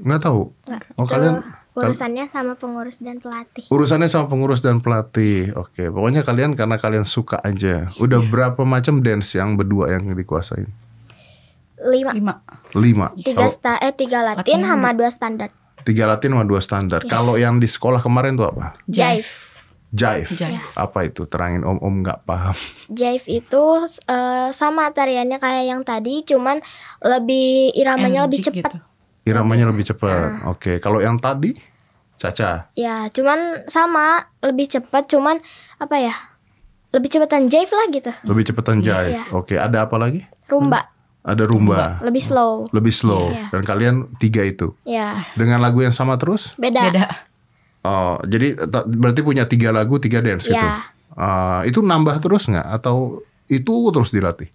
S3: Nggak tahu.
S4: Nggak.
S3: Oh,
S4: Itu
S3: kalian kal-
S4: urusannya sama pengurus dan pelatih.
S3: Urusannya sama pengurus dan pelatih. Oke, pokoknya kalian karena kalian suka aja.
S4: Iya.
S3: Udah berapa macam dance yang berdua yang dikuasain?
S4: Lima,
S5: Lima.
S3: Lima. Oh,
S4: tiga
S3: Kalau
S4: sta eh tiga Latin
S5: Latin.
S4: sama dua standar.
S3: tiga Latin sama dua standar. Kalau yang di sekolah kemarin tuh apa?
S5: Jive.
S4: Jive.
S3: Jive.
S5: Jive.
S4: Iya.
S3: Apa itu? Terangin om-om nggak paham.
S4: Jive itu eh, sama tariannya kayak yang tadi, cuman lebih iramanya lebih
S5: Energik
S4: cepat.
S5: gitu.
S3: Iramanya lebih
S4: Iya.
S3: cepat. Oke, kalau yang tadi Caca.
S4: Ya, cuman sama, lebih cepat, cuman apa ya? Lebih cepetan jive lah gitu.
S3: Lebih cepetan jive.
S4: Iya.
S3: Oke, ada apa lagi?
S4: Rumba
S3: Ada rumba.
S4: lebih slow.
S3: Lebih slow.
S4: Iya.
S3: Dan kalian tiga itu.
S4: Ya,
S3: Dengan lagu yang sama terus?
S4: beda.
S5: Beda.
S3: Oh, jadi ta- berarti punya tiga lagu, tiga dance gitu.
S4: Iya.
S3: Ah, itu nambah terus nggak? Atau itu terus dilatih?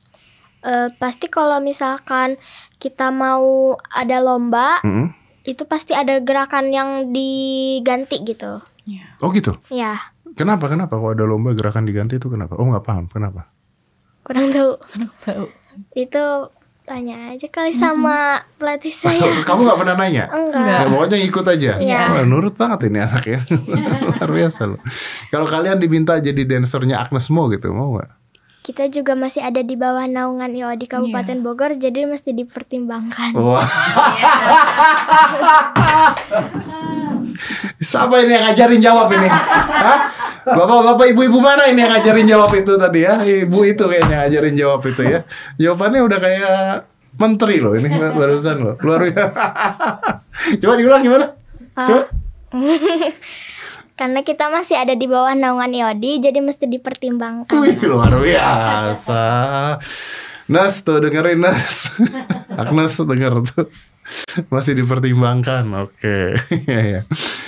S4: Eh, pasti kalau misalkan kita mau ada lomba,
S3: Mm-mm.
S4: itu pasti ada gerakan yang diganti gitu.
S3: Oh gitu.
S4: Ya,
S3: Kenapa? Kenapa? Kalau ada lomba gerakan diganti itu kenapa? Oh nggak paham. Kenapa?
S4: kurang tahu.
S5: Enggak tahu.
S4: Itu tanya aja kali sama pelatih saya.
S3: Kamu nggak pernah nanya?
S4: Enggak.
S5: Enggak.
S3: Ya, pokoknya ikut aja.
S4: Iya.
S3: Wah, nurut banget ini anak ya. Luar biasa loh. Kalau kalian diminta jadi dansernya Agnes Mo gitu, mau nggak?
S4: Kita juga masih ada di bawah naungan IO di Kabupaten Bogor, jadi mesti dipertimbangkan.
S3: Wah. Siapa ini yang ngajarin jawab ini? Hah? Bapak-bapak ibu-ibu mana ini yang ngajarin jawab itu tadi ya? Ibu itu kayaknya ngajarin jawab itu ya. Jawabannya udah kayak menteri loh ini barusan loh luar biasa coba diulang gimana coba
S4: Ah. Karena kita masih ada di bawah naungan IOD, jadi mesti dipertimbangkan.
S3: Wih, luar biasa. Nas tuh dengerin Nas. Agnes denger tuh. Masih dipertimbangkan. Oke. Iya, iya.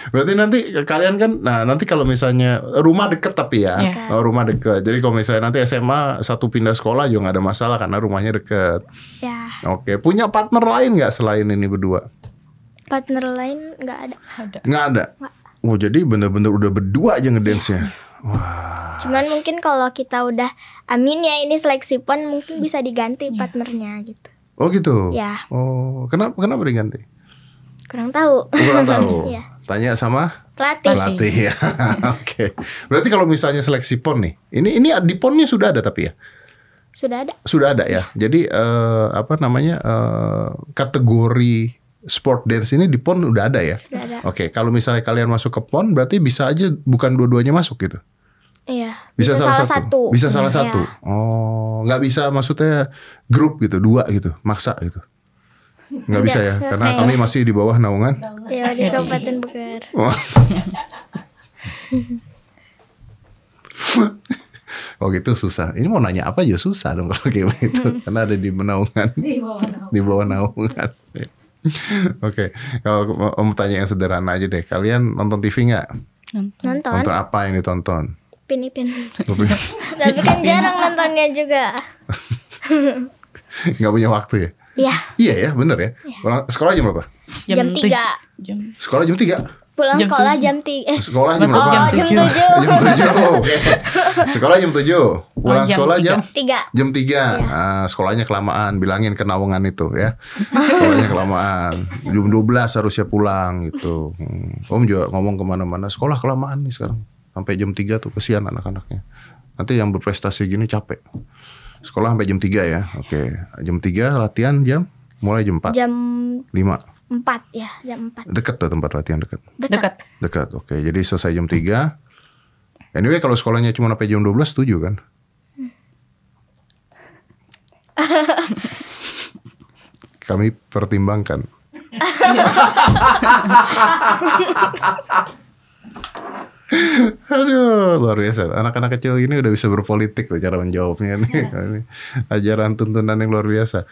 S3: Berarti nanti kalian kan nah nanti kalau misalnya rumah deket tapi ya.
S5: Iya.
S3: Oh, rumah deket. Jadi kalau misalnya nanti SMA satu pindah sekolah juga nggak ada masalah karena rumahnya deket.
S4: Ya,
S3: Oke, punya partner lain nggak selain ini berdua?
S4: partner lain nggak ada.
S5: Ada.
S3: Nggak ada. Oh, jadi bener-bener udah berdua aja ngedance-nya.
S4: Cuman mungkin kalau kita udah amin ya ini seleksi pon mungkin bisa diganti partnernya gitu.
S3: Oh gitu.
S4: Ya.
S3: Oh, kenapa kenapa diganti?
S4: Kurang tahu.
S3: Kurang tahu.
S4: Iya.
S3: Tanya sama
S4: Pelatih.
S3: pelatih ya. Oke. Berarti kalau misalnya seleksi pon nih, ini ini di ponnya sudah ada tapi ya,
S4: Sudah ada.
S3: sudah ada
S4: Iya.
S3: ya. Jadi eh, apa namanya eh, kategori sport dance ini di pon udah ada ya.
S4: Sudah ada.
S3: Oke, kalau misalnya kalian masuk ke pon, berarti bisa aja bukan dua-duanya masuk gitu.
S4: Iya.
S3: Bisa, salah, satu. Bisa salah
S4: Iya.
S3: satu. Oh, nggak bisa maksudnya grup gitu, dua gitu, maksa gitu. Nggak
S4: Nggak,
S3: bisa ya,
S4: nggak
S3: karena
S4: kayak-
S3: kami masih di bawah naungan.
S4: Iya di Kabupaten Bogor.
S3: Wah. Oh gitu susah. Ini mau nanya apa juga susah dong kalau kayak begitu. Karena ada di menaungan. Di bawah naungan. Oke, kalau aku mau- mau tanya yang sederhana aja deh. Kalian nonton TV nggak?
S4: Nonton.
S3: Nonton apa yang ditonton?
S4: Pin Ipin.
S3: Gak punya,
S4: Tapi kan jarang nontonnya juga.
S3: nggak punya waktu ya?
S4: Iya.
S3: Iya ya, bener ya. Orang- Sekolah jam berapa?
S4: Jam,
S5: tuj-
S4: 3.
S5: Jam
S3: Sekolah jam 3
S4: Pulang
S5: Jam
S4: sekolah jam 3. Eh,
S3: Sekolah jam
S5: Masuk
S3: berapa?
S5: jam
S4: jam 7.
S5: tujuh.
S3: Jam 7 Sekolah jam 7 Pulang
S5: jam
S3: sekolah
S5: tiga.
S3: jam
S4: 3.
S3: Jam 3 Ah, Sekolahnya kelamaan Bilangin ke naungan itu ya Sekolahnya kelamaan Jam 12 harusnya pulang gitu Hmm. Om juga ngomong kemana-mana Sekolah kelamaan nih sekarang Sampai jam 3 tuh kesian anak-anaknya Nanti yang berprestasi gini capek Sekolah sampai jam 3 ya Oke Jam 3 latihan jam Mulai jam 4
S4: Jam
S3: 5
S4: 4 ya, jam Eh, 4.
S3: Deket tuh tempat latihan deket
S5: dekat.
S3: Dekat, oke. Jadi selesai jam 3. Anyway, kalau sekolahnya cuma sampai jam 12, setuju kan? Kami pertimbangkan. Aduh, luar biasa. Anak-anak kecil ini udah bisa berpolitik loh cara menjawabnya nih. Ini Ajaran tuntunan yang luar biasa.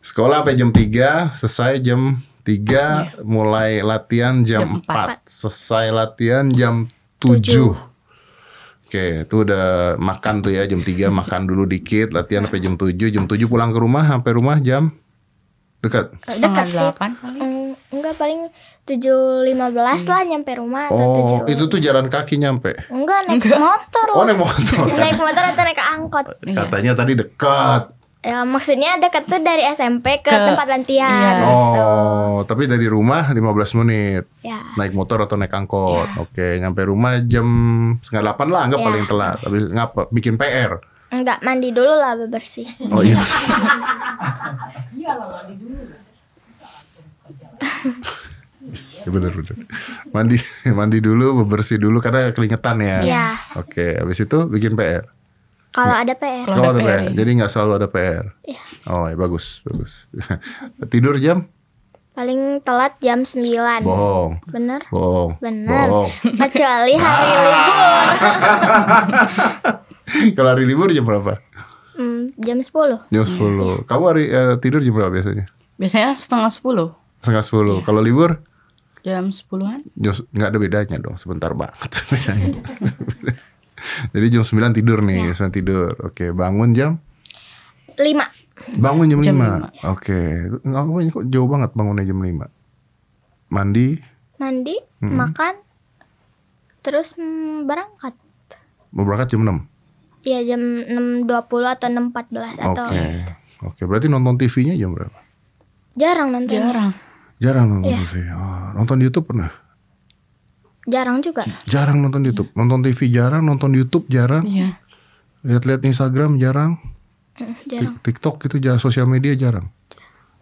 S3: Sekolah sampai jam 3, selesai jam 3, mulai latihan jam,
S5: Jam
S3: 4. Selesai latihan jam 7. Oke, itu udah makan tuh ya jam 3 makan dulu dikit, latihan sampai jam 7, jam 7 pulang ke rumah, sampai rumah jam dekat.
S4: Dekat
S5: Setengah
S4: sih.
S5: delapan kali.
S4: Mm, enggak paling
S5: Hmm.
S4: 7.15 lah nyampe rumah atau
S3: Oh,
S4: 7.
S3: itu tuh jalan kaki nyampe.
S4: Enggak naik motor.
S3: Oh, naik motor.
S4: naik motor atau naik angkot.
S3: Katanya tadi dekat.
S4: Ya, maksudnya dekat tuh dari SMP ke,
S5: Ke-
S4: tempat latihan. gitu.
S5: Iya.
S3: Oh, tapi dari rumah 15 menit.
S4: Ya.
S3: Naik motor atau naik angkot. Oke, nyampe rumah jam setengah delapan lah, anggap
S4: Ya.
S3: paling telat. Tapi ngapa? Bikin PR.
S4: Enggak mandi dulu lah bebersih.
S3: Oh iya. Ya bener bener. Mandi mandi dulu, bebersih dulu karena keringetan ya.
S4: Iya.
S3: Oke, habis itu bikin PR.
S4: Kalau ada PR
S3: Kalau
S5: Kalau ada
S3: ada
S5: PR,
S3: PR,
S5: ya.
S3: jadi nggak selalu ada PR. Oh, ya, bagus, bagus. Tidur jam?
S4: paling telat jam 9.
S3: Bohong,
S4: Bener?
S3: bohong,
S4: Bener.
S3: bohong.
S4: Kecuali hari libur.
S3: Kalau hari libur jam berapa?
S4: Hmm, jam 10.
S3: Jam 10. Kamu hari eh, tidur jam berapa biasanya?
S5: Biasanya setengah sepuluh.
S3: Setengah 10. Kalau libur?
S5: Jam sepuluhan.
S3: Jam, nggak ada bedanya dong, sebentar banget bedanya. Jadi jam 9 tidur nih, 9 tidur. Oke, bangun jam
S4: 5.
S3: bangun jam,
S5: Jam
S3: 5. Oke. Ngapain kok jauh banget bangunnya jam 5. Mandi,
S4: Mandi, makan, terus hmm, berangkat.
S3: mau berangkat jam 6.
S4: Ya jam 6.20 atau 6.14 atau
S3: Oke. Oke, berarti nonton TV-nya jam berapa?
S4: jarang nonton.
S5: Jarang.
S3: Jarang nonton
S4: Iya.
S3: TV. Oh, nonton YouTube pernah?
S4: Jarang juga.
S3: Jarang nonton YouTube. Nonton TV jarang, nonton YouTube jarang.
S5: Iya.
S3: Lihat-lihat Instagram jarang.
S4: Hmm, Jarang.
S3: Tik- TikTok itu jarang, sosial media jarang.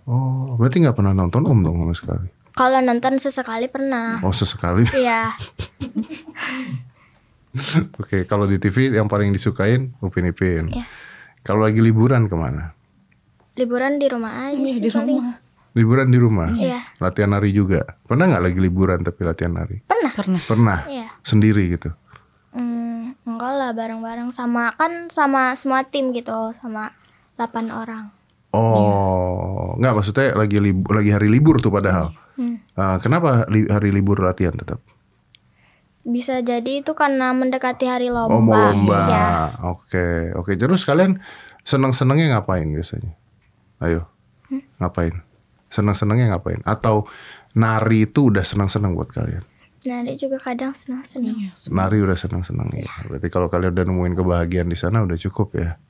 S3: Oh, berarti nggak pernah nonton Om dong sama sekali.
S4: Kalau nonton sesekali pernah.
S3: Oh, sesekali.
S4: Iya.
S3: Oke, kalau di TV yang paling disukain Upin Ipin.
S4: Iya.
S3: Kalau lagi liburan kemana?
S4: liburan di rumah aja
S5: Nih,
S4: sih
S5: Iya, di
S4: paling.
S5: rumah.
S3: Liburan di rumah.
S4: Iya.
S3: Latihan nari juga. Pernah nggak lagi liburan tapi latihan nari?
S4: Pernah?
S5: Pernah.
S3: Pernah.
S4: Iya.
S3: Sendiri gitu.
S4: Hmm, enggak lah bareng-bareng sama kan sama semua tim gitu sama 8 orang. Iya.
S3: Oh, nggak maksudnya lagi libu- lagi hari libur tuh padahal.
S4: Hmm.
S3: Eh, kenapa li- hari libur latihan tetap?
S4: Bisa jadi itu karena mendekati hari lomba.
S3: Oh, mau lomba.
S4: Iya.
S3: Oke, oke. Terus kalian seneng-senengnya ngapain biasanya? Ayo,
S4: Hmm?
S3: ngapain? Seneng-senengnya ngapain? Atau nari itu udah seneng-seneng buat kalian?
S4: Nah, dia juga kadang
S5: Iya.
S4: senang-senang.
S3: Nari udah seneng-seneng
S4: Iya.
S3: ya. Berarti kalau kalian udah nemuin kebahagiaan di sana udah cukup ya.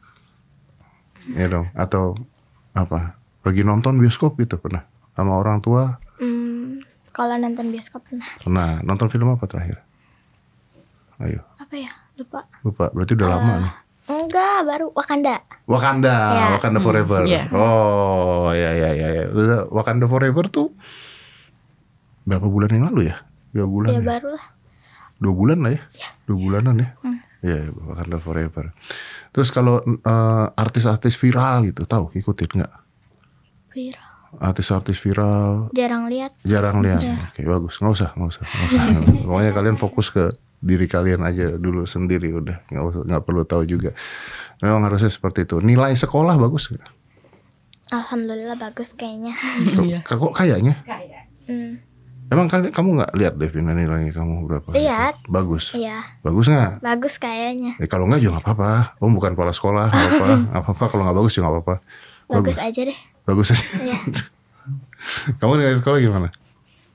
S3: Ya dong. Atau apa? Pergi nonton bioskop gitu pernah sama orang tua?
S4: Hmm, kalau nonton bioskop pernah.
S3: Nah, nonton film apa terakhir? Ayo,
S4: Apa ya? Lupa.
S3: lupa. Berarti udah
S4: Eh,
S3: lama nih.
S4: Enggak, baru Wakanda.
S3: Wakanda,
S4: Ya.
S3: Wakanda Forever.
S5: Iya.
S3: Oh, ya ya ya ya. Terus, Wakanda Forever tuh berapa bulan yang lalu ya? Dua bulan
S4: Ya
S3: ya?
S4: baru lah.
S3: Dua bulan lah ya? Dua bulanan ya?
S4: Hmm.
S3: Iya, ya, Wakanda Forever. Terus kalau eh, artis-artis viral gitu, tahu ikutin nggak?
S4: Viral.
S3: Artis-artis viral
S4: Jarang lihat.
S3: jarang lihat.
S4: Ya.
S3: Oke, bagus. Nggak usah, nggak usah. nggak usah. Pokoknya kalian fokus ke diri kalian aja dulu sendiri udah. Nggak usah, nggak perlu tahu juga. Memang harusnya seperti itu. Nilai sekolah bagus nggak?
S4: Alhamdulillah bagus kayaknya.
S3: Kok-
S5: Iya.
S3: Kok, kayaknya?
S4: Hmm,
S3: Emang kali, kamu nggak lihat Devina nilainya kamu berapa? gitu?
S4: Lihat.
S3: Bagus.
S4: iya,
S3: Bagus nggak?
S4: bagus kayaknya.
S3: Eh, kalau nggak juga nggak apa-apa. Om bukan kepala sekolah, nggak apa-apa. Nggak apa-apa kalau nggak bagus juga nggak apa-apa.
S4: Bagus aja deh.
S3: Bagus aja.
S4: Iya.
S3: kamu nilai sekolah gimana?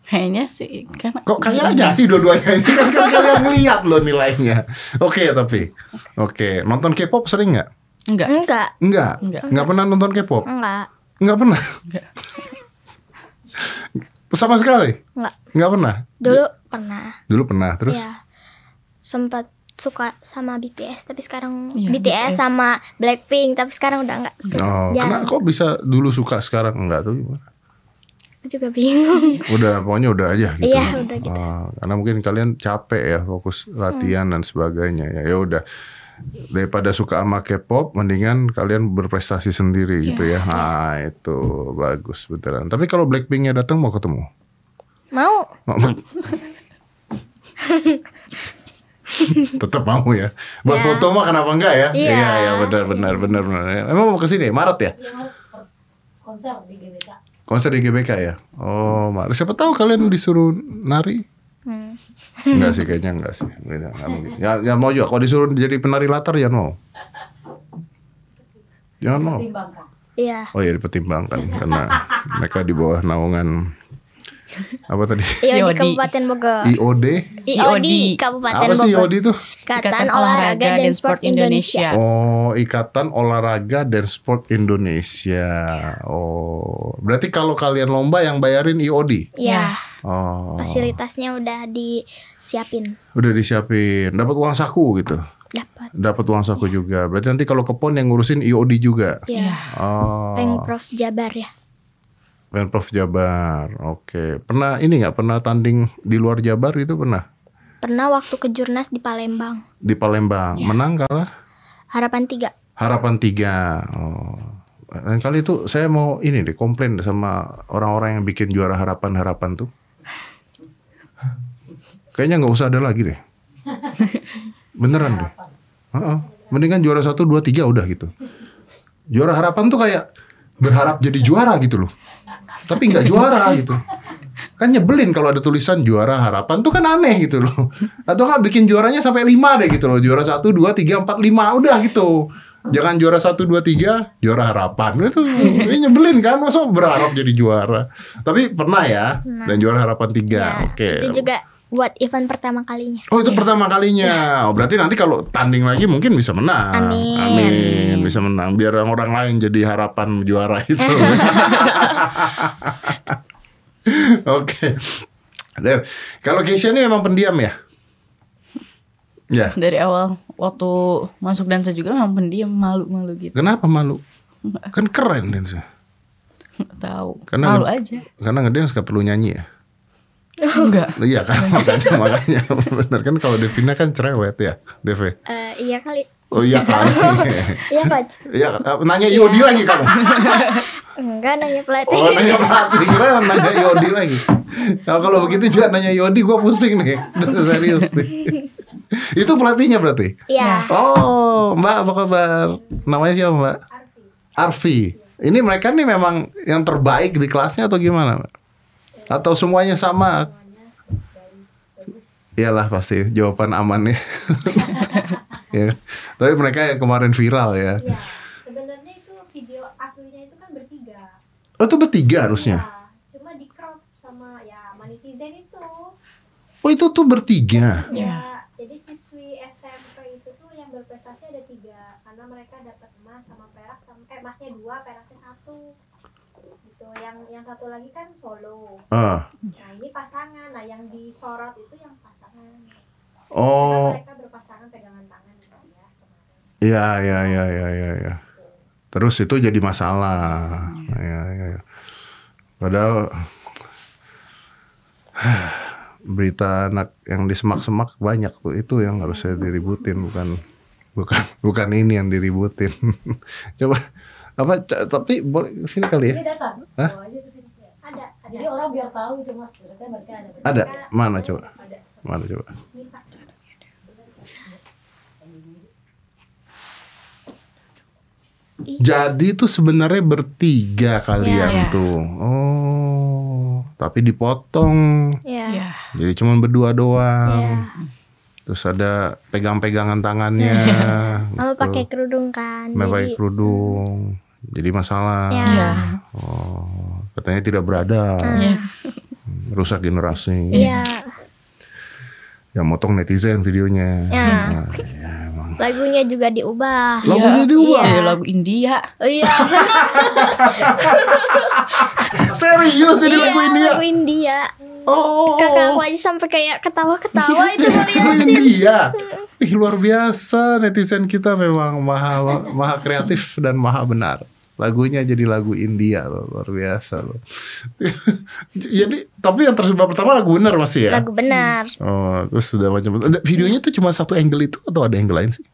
S5: Kayaknya sih karena
S3: Kok
S4: Iya.
S3: kayak aja sih dua-duanya ini kan, kan kalian ngeliat loh nilainya. Oke tapi, oke nonton K-pop sering nggak?
S5: enggak.
S4: Enggak.
S3: Nggak.
S5: Nggak.
S3: Nggak pernah nonton K-pop?
S4: Enggak.
S3: Nggak pernah.
S5: Nggak.
S3: Sama sekali.
S4: Enggak.
S3: Nggak pernah.
S4: Dulu pernah.
S3: Dulu pernah. Terus?
S4: Ya. Sempat suka sama BTS tapi sekarang
S5: Iya,
S4: BTS,
S5: BTS.
S4: sama Blackpink tapi sekarang udah enggak
S3: Oh,
S4: suka.
S3: kenapa
S4: Jarang.
S3: kok bisa dulu suka sekarang enggak tuh gimana?
S4: Aku juga bingung.
S3: udah pokoknya udah aja gitu.
S4: Iya, udah gitu.
S3: Ah, karena mungkin kalian capek ya fokus latihan dan sebagainya ya. Ya udah daripada suka sama K-pop mendingan kalian berprestasi sendiri gitu ya.
S4: Iya.
S3: Nah, itu bagus beneran. Tapi kalau Blackpinknya datang mau ketemu.
S4: Mau
S3: Mau- mau- Tetap mau ya. Buat
S4: Ya.
S3: foto mah kenapa enggak ya?
S4: Iya.
S3: Iya, ya benar benar benar benar. Emang mau ke sini Maret ya?
S6: Iya, konser di GBK.
S3: Konser di GBK ya? Oh, Maret. Siapa tahu kalian disuruh nari.
S4: Hmm.
S3: Enggak sih kayaknya enggak sih. Kayaknya enggak mungkin. Ya, ya mau juga kalau disuruh jadi penari latar ya mau. Jangan mau.
S6: Timbangkan.
S4: Iya.
S3: Oh ya dipertimbangkan karena mereka di bawah naungan apa tadi?
S4: IOD
S5: IOD.
S4: Kabupaten Bogor.
S3: IOD.
S5: IOD.
S4: IOD Eh, Kabupaten
S3: Apa sih
S4: Bogor.
S3: IOD itu?
S4: Ikatan Olahraga dan Sport
S5: Ya.
S4: Indonesia.
S3: Oh, Ikatan Olahraga dan Sport Indonesia.
S4: Ya.
S3: Oh, berarti kalau kalian lomba yang bayarin IOD.
S4: Iya,
S3: Oh.
S4: fasilitasnya udah disiapin.
S3: Udah disiapin, dapat uang saku gitu.
S4: Dapat.
S3: Dapat uang
S4: Ya.
S3: saku juga. Berarti nanti kalau ke PON yang ngurusin IOD juga.
S4: Iya.
S3: Oh.
S4: Pengprov Jabar ya.
S3: Pemprov Jabar. Oke. Pernah ini nggak pernah tanding di luar Jabar itu pernah
S4: Pernah waktu ke Jurnas di Palembang.
S3: di
S4: Ya.
S3: Palembang. Menang kalah
S4: Harapan tiga.
S3: harapan tiga. Oh. Lain kali itu saya mau ini deh komplain sama orang-orang yang bikin juara harapan-harapan tuh. Kayaknya nggak usah ada lagi deh. Beneran deh. Heeh. Mendingan juara satu, dua, tiga udah gitu. Juara harapan tuh kayak berharap jadi juara gitu loh. Tapi nggak juara gitu. Kan nyebelin kalau ada tulisan juara harapan tuh kan aneh gitu loh. Atau kan bikin juaranya sampai lima deh gitu loh. Juara satu, dua, tiga, empat, lima udah gitu. Jangan juara satu, dua, tiga, juara harapan itu ini nyebelin kan masa berharap jadi juara. Tapi pernah ya dan juara harapan tiga.
S4: Ya,
S3: Oke.
S4: Itu juga buat event pertama kalinya.
S3: Oh
S5: Iya.
S3: itu pertama kalinya. Oh, berarti nanti kalau tanding lagi mungkin bisa menang.
S4: Amin.
S3: Amin. Bisa menang. Biar orang lain jadi harapan juara itu. Oke. Dev, Kalau Keisha ini memang pendiam ya? Ya.
S5: Dari awal waktu masuk dansa juga memang pendiam malu-malu gitu.
S3: Kenapa malu? Kan keren Dance.
S5: Nggak tahu.
S3: Karena- kan-
S5: malu aja.
S3: Karena ngedance gak perlu nyanyi ya?
S5: Enggak.
S3: Iya
S5: Iya.
S3: kan makanya makanya bener kan kalau Devina kan cerewet ya Dev ya?
S4: Eh, iya kali.
S3: Oh iya kan?
S4: Iya Pak.
S3: Iya, eh, nanya Yodi lagi kamu.
S4: Enggak nanya pelatih.
S3: Oh nanya pelatih, kira nanya Yodi lagi. Nah, kalau begitu juga nanya Yodi, gua pusing nih. Udah serius nih. Itu pelatihnya berarti?
S4: Iya.
S3: Oh, Mbak apa kabar? Namanya siapa Mbak? Arfi. Ini mereka nih memang yang terbaik di kelasnya atau gimana? Mbak? Atau semuanya sama? Iyalah pasti jawaban aman ya. Ya kan? Tapi mereka yang kemarin viral ya.
S7: Ya, sebenarnya itu video aslinya itu kan bertiga.
S3: Oh itu bertiga harusnya.
S7: Nah, cuma di crop sama ya manitizen itu.
S3: Oh itu tuh bertiga.
S8: Iya.
S7: Ya, jadi siswi SMP itu tuh yang berprestasi ada tiga karena mereka dapat emas sama perak sama eh emasnya dua peraknya satu gitu yang yang satu lagi kan solo
S3: Ah.
S7: nah ini pasangan nah yang disorot itu yang pasangan
S3: Oh.
S7: Karena mereka berpasangan pegangan tangan gitu ya
S3: Iya, iya, iya, iya, iya. Ya. Terus itu jadi masalah. Iya, iya. Ya. Padahal berita anak yang disemak-semak banyak tuh itu yang harusnya diributin bukan bukan bukan ini yang diributin. Coba apa c- tapi boleh sini kali ya.
S8: Dia datang.
S3: Hah?
S8: Bawa aja ke sini.
S7: ada ada
S8: Jadi orang biar tahu itu mas. Ternyata mereka ada.
S3: Ada mana coba? Mana coba?
S4: Iya.
S3: Jadi itu sebenarnya bertiga kalian
S5: Iya.
S3: tuh. Oh, tapi dipotong.
S4: Iya.
S5: Iya.
S3: Jadi cuman berdua doang. Terus ada pegang-pegangan tangannya.
S4: Sama
S3: gitu.
S4: Iya. pakai kerudung kan.
S3: Sama pakai
S4: Jadi-
S3: kerudung. Jadi masalah.
S4: Iya. Hmm.
S5: Iya.
S3: Oh, katanya tidak berada.
S5: Iya.
S3: Rusak generasi.
S4: Iya.
S3: Yang Ya, motong netizen videonya.
S4: Iya.
S3: Nah, ya, emang.
S4: Lagunya juga diubah.
S3: Lagunya diubah.
S5: Ada Iya, lagu India.
S4: Oh iya.
S3: Serius ini lagu India.
S4: Iya, Lagu India.
S3: Oh.
S4: Kakak aku aja sampai kayak ketawa-ketawa itu ya.
S3: Lagu
S4: ngeliatin.
S3: India. Ih, luar biasa netizen kita memang maha maha kreatif dan maha benar. Lagunya jadi lagu India loh, luar biasa loh. jadi tapi yang tersebar pertama lagu benar masih ya.
S4: Lagu benar.
S3: Oh, terus sudah macam ada- videonya tuh cuma satu angle itu atau ada angle lain sih?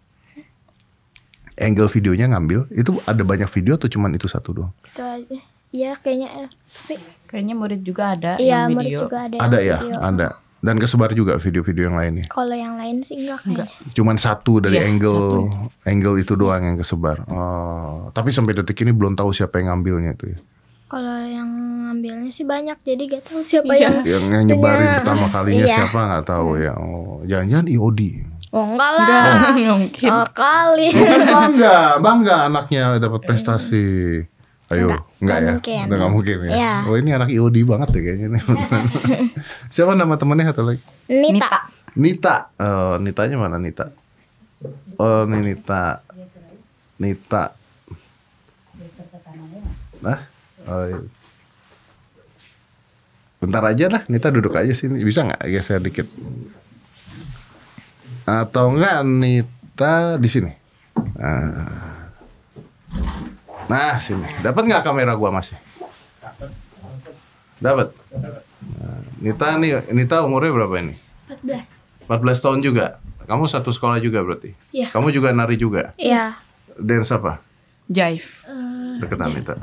S3: Angle videonya ngambil itu ada banyak video atau cuman itu satu doang?
S4: Itu aja. Iya kayaknya. eh, Tapi
S5: Kayaknya murid juga ada
S4: iya
S5: yang
S4: murid
S5: video.
S4: juga ada.
S3: Ada ya,
S4: video.
S3: ada. Dan kesebar juga video-video yang lainnya.
S4: Kalau yang lain sih enggak kayaknya.
S3: Cuman satu dari
S5: Iya,
S3: angle angle itu doang yang kesebar. Oh, tapi sampai detik ini belum tahu siapa yang ngambilnya itu ya.
S4: Kalau yang ngambilnya sih banyak jadi gak tahu siapa
S5: Iya.
S4: yang
S3: Yang, yang nyebarin
S4: Punya.
S3: pertama kalinya
S4: Iya.
S3: siapa nggak tahu ya. Oh, jangan-jangan IOD.
S4: Oh enggak lah.
S5: Enggak, nggak mungkin.
S4: Oh, kali.
S3: Kan bangga, bangga anaknya dapat prestasi. Ayo,
S4: Iya. Enggak,
S3: enggak,
S4: enggak
S3: ya?
S4: mungkin.
S3: Udah Enggak mungkin ya.
S4: Iya.
S3: Oh, ini anak IOD banget ya kayaknya nih. siapa nama temennya satu lagi?
S4: Nita.
S5: Nita.
S3: Nita, Eh, Nitanya mana Nita? Oh, ini Nita. Nita. Nah, oh, iya. bentar aja lah. Nita duduk aja sini. Bisa nggak geser dikit? Atau enggak Nita di sini? Nah, Nah, sini. Dapat nggak kamera gua masih? Dapat. Nah, Nita nih, Nita umurnya berapa ini? 14 tahun juga. Kamu satu sekolah juga berarti.
S4: Iya.
S3: Kamu juga nari juga.
S4: Iya.
S3: Dance apa?
S5: Jive.
S4: Ah,
S3: Deket Anita.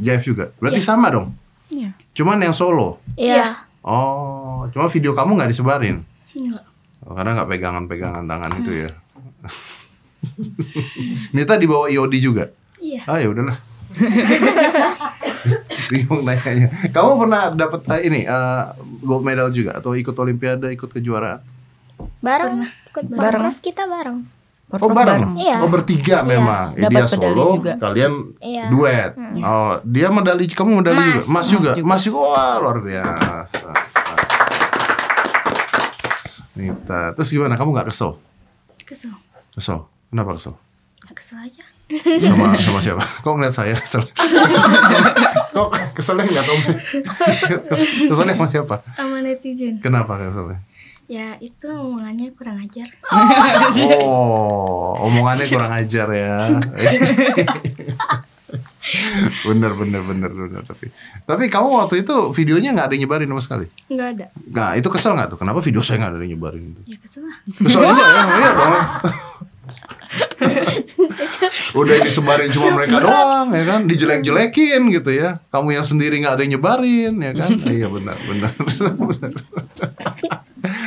S3: Jive juga. Berarti sama dong.
S5: Iya.
S3: Cuman yang solo.
S4: Iya.
S3: Oh, cuma video kamu nggak disebarin. Enggak. Karena nggak pegangan-pegangan tangan itu ya. Nita dibawa IOD juga.
S4: Iya.
S3: Ah ya udahlah. Bingung nanyanya. Kamu pernah dapat eh, ini eh, gold medal juga atau ikut olimpiade, ikut kejuaraan?
S4: Bareng ikut
S5: Bareng.
S4: bareng. kita bareng.
S3: Oh bareng,
S4: Iya.
S3: oh bertiga memang. Eh,
S5: Dapat
S3: dia
S5: medali
S3: solo,
S5: juga.
S3: kalian
S4: Iya.
S3: duet. Oh dia medali, kamu medali
S4: Emas.
S3: juga, mas, juga,
S5: juga.
S3: mas juga, wah luar biasa. Nita, terus gimana? Kamu nggak kesel?
S4: Kesel.
S3: Kesel? Kenapa kesel?
S4: Kesel aja.
S3: Sama, sama siapa? Kok ngeliat saya kesel? Kok keselnya nggak tahu sih? Kesel- Keselnya sama siapa?
S9: sama netizen
S3: Kenapa keselnya?
S9: ya itu omongannya kurang ajar
S3: Oh, omongannya kurang ajar ya. bener bener bener bener tapi tapi kamu waktu itu videonya nggak ada yang nyebarin sama sekali
S9: nggak ada
S3: nggak itu kesel gitu? nggak tuh kenapa video saya nggak ada yang nyebarin itu
S9: ya kesel lah
S3: kesel juga ya iya dong udah disebarin cuma mereka doang ya kan dijelek-jelekin gitu ya kamu yang sendiri nggak ada yang nyebarin ya kan iya benar benar benar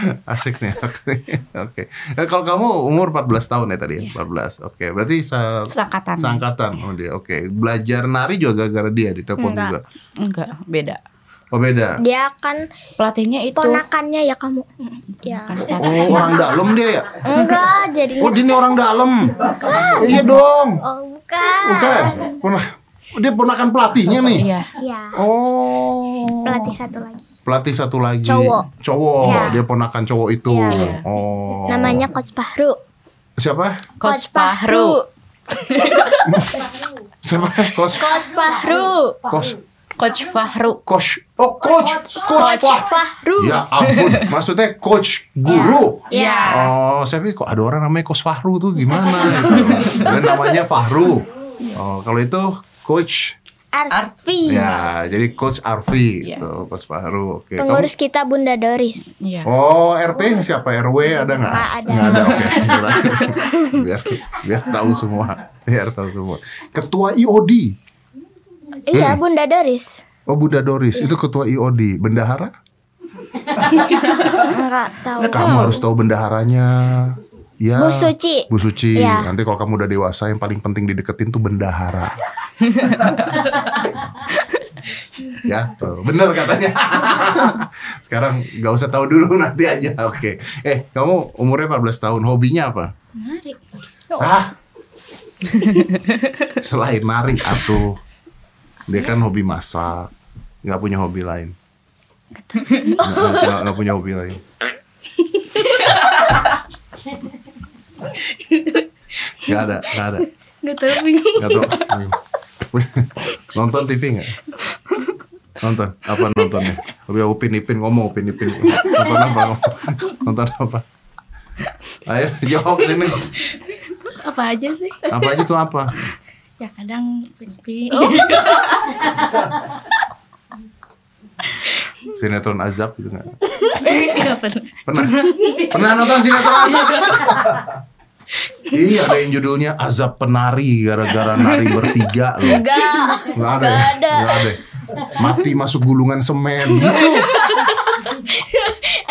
S3: asik nih oke Ya, kalau kamu umur 14 tahun ya tadi
S9: Iya.
S3: ya? 14 oke berarti sa-
S5: Seangkatan.
S3: seangkatan oh dia oke belajar nari juga gara-gara dia ditelepon
S4: Enggak.
S3: juga
S5: Enggak, beda.
S3: oh beda
S4: Dia kan
S5: Pelatihnya itu kan.
S4: ponakannya ya kamu. Ya.
S3: oh orang dalam dia ya
S4: Enggak,
S3: oh
S4: jadinya
S3: dia ini orang dalam iya dong
S4: oh bukan.
S3: bukan Pona- dia ponakan pelatihnya nih
S5: Iya.
S4: Ya,
S3: Oh.
S4: pelatih satu lagi.
S3: Pelatih satu lagi.
S4: Cowok.
S3: Cowok.
S4: Iya.
S3: Dia ponakan cowok itu.
S4: Iya.
S3: Oh.
S4: Namanya Coach Bahru.
S3: siapa?
S5: Coach Pahru.
S3: Siapa? Coach.
S4: Coach Bahru.
S3: Coach.
S5: Coach Fahru.
S3: Coach. Oh, coach. Coach.
S4: Coach
S3: Wah.
S4: Bahru.
S3: Ya ampun, maksudnya coach guru.
S4: Ya.
S5: Iya.
S3: Oh, saya pikir kok ada orang namanya Coach Fahru tuh gimana? Dan namanya Fahru. Oh, kalau itu coach
S4: Arfi.
S3: ya jadi coach Arfi
S5: Iya.
S3: gitu, coach Fahru. Oke. Kamu-
S4: Pengurus kita Bunda Doris.
S5: Iya.
S3: Oh RT siapa RW ada nggak?
S4: Nggak ada.
S3: Nggak ada oke. biar biar tahu semua, biar tahu semua. Ketua IOD,
S4: Iya,
S3: Hmm.
S4: Bunda Doris.
S3: oh Bunda Doris itu ketua IOD, bendahara?
S4: Enggak tahu.
S3: Kamu harus tahu bendaharanya. Ya.
S4: Bu Suci.
S3: Bu Suci.
S4: Iya.
S3: Nanti kalau kamu udah dewasa yang paling penting dideketin tuh bendahara. ya, tuh. bener katanya. Sekarang nggak usah tahu dulu nanti aja. Oke. Eh, kamu umurnya 14 tahun, hobinya apa?
S10: Menarik.
S3: Ah. Selain nari atau dia kan hobi masak, nggak punya hobi lain. Nggak- Nggak nggak- nggak punya hobi lain. Gak ada, gak ada,
S10: Gak tau bingung.
S3: gak tau. Nonton TV nggak? Nonton, apa nontonnya? Hobi Upin Ipin ngomong, Upin Ipin nonton apa? Nonton apa? Ayo jawab sini.
S10: Apa aja sih?
S3: Apa aja tuh apa?
S10: Ya kadang penyepi.
S3: sinetron azab gitu nggak
S10: Gak pernah.
S3: pernah pernah nonton sinetron azab iya ada yang judulnya azab penari gara-gara nari bertiga loh
S4: Enggak.
S3: nggak ada ya?
S4: Nggak ada.
S3: nggak ada mati masuk gulungan semen gitu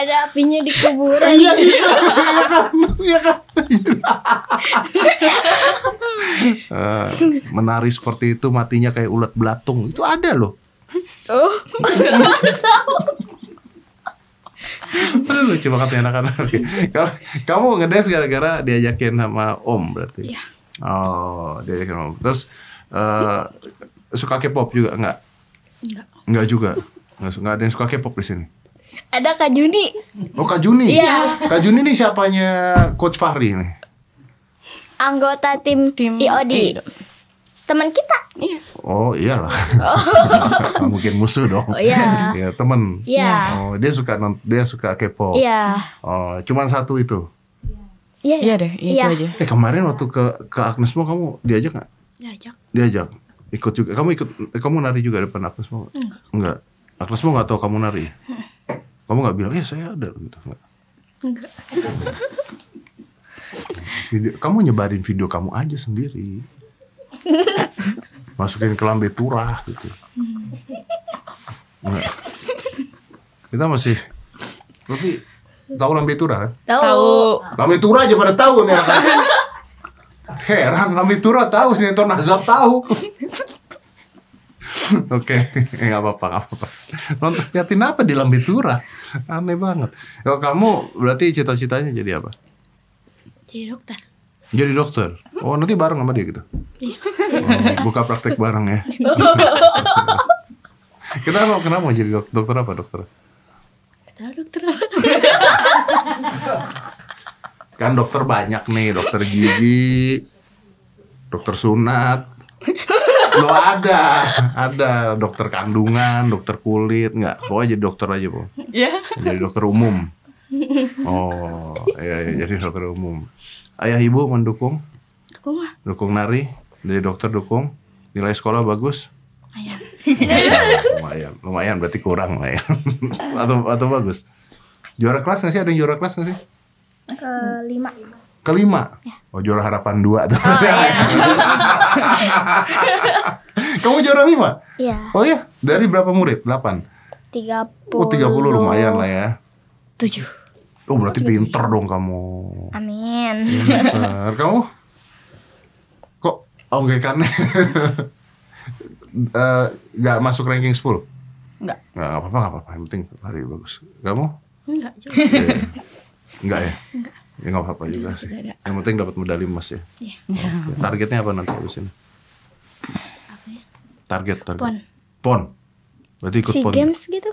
S4: Ada apinya di kuburan.
S3: iya gitu iya kan iya kan Eh, menari seperti itu matinya kayak ulat belatung itu ada loh
S4: Oh.
S3: Aduh lucu banget nih anak-anak. Oke. Kalau kamu ngedance gara-gara diajakin sama Om berarti.
S10: Iya.
S3: Oh, diajakin sama Om. Terus eh, suka K-pop juga enggak?
S10: Enggak.
S3: Enggak juga. Enggak, su- enggak ada yang suka K-pop di sini.
S4: Ada Kak Juni.
S3: Oh, Kak Juni.
S4: Iya.
S3: Kak Juni nih siapanya Coach Fahri nih.
S4: Anggota tim,
S5: Tim
S4: IOD. Teman kita.
S3: Oh, iyalah. Nggak Mungkin musuh dong.
S4: Oh, iya.
S3: Iya, temen.
S4: Iya.
S3: Oh, dia suka non- dia suka K-pop.
S4: Iya.
S3: Oh, cuman satu itu.
S4: Iya.
S5: Iya deh, itu
S4: Iya.
S5: aja.
S3: Eh, kemarin waktu ke ke Agnes Mo kamu diajak nggak?
S10: Diajak.
S3: diajak ikut juga kamu ikut kamu nari juga depan Agnes mau enggak Agnes mau nggak tahu kamu nari kamu nggak bilang ya saya ada gitu enggak
S10: Enggak.
S3: video kamu nyebarin video kamu aja sendiri masukin ke lambe turah gitu enggak kita masih tapi tahu lambe turah kan
S4: Tahu.
S5: Tahu.
S3: Lambe Tura aja pada tahu nih anak Heran Lambe Tura tahu sinetron Azab tahu. Oke, eh, nggak apa-apa, nggak apa-apa. Nonton liatin apa di Lambe Tura? Aneh banget. Kalau kamu berarti cita-citanya jadi apa?
S10: Jadi dokter.
S3: Jadi dokter. Oh, nanti bareng sama dia gitu. Oh, buka praktek bareng ya. kenapa kenapa mau jadi dok- dokter apa dokter?
S10: Gak tau dokter apa.
S3: Kan dokter banyak nih, dokter gigi, dokter sunat. Lo ada, ada dokter kandungan, dokter kulit, nggak? Pokoknya jadi dokter aja, Bu.
S5: Iya.
S3: Jadi dokter umum. Oh, iya, iya, jadi dokter umum. Ayah ibu mendukung,
S10: Aku mah.
S3: dukung nari, jadi dokter dukung, nilai sekolah bagus.
S10: Lumayan.
S3: lumayan, lumayan berarti kurang lah ya. atau atau bagus. Juara kelas nggak sih? Ada yang juara kelas nggak sih?
S4: Kelima.
S3: Kelima. Oh, juara harapan dua tuh. Kamu juara lima?
S4: Iya,
S3: Oh iya, dari berapa murid? Delapan.
S4: 30.
S3: Oh, 30 lumayan lah ya.
S5: 7.
S3: Oh, berarti pinter dong kamu.
S4: Amin.
S3: Pinter. kamu? Kok ongkekannya? Eh, Gak masuk ranking 10?
S5: Nggak.
S3: Nggak nggak apa-apa, nggak apa-apa. Yang penting lari bagus. Kamu?
S11: Enggak juga.
S3: Iya, iya. Enggak ya? Ya nggak apa-apa juga sih.
S11: Enggak ada.
S3: Yang penting dapat medali emas ya.
S11: Iya.
S3: Oke. Targetnya apa nanti habis ini? Target, target.
S11: Pon.
S3: Pon. Berarti ikut
S4: Si
S3: pon.
S4: Games gitu.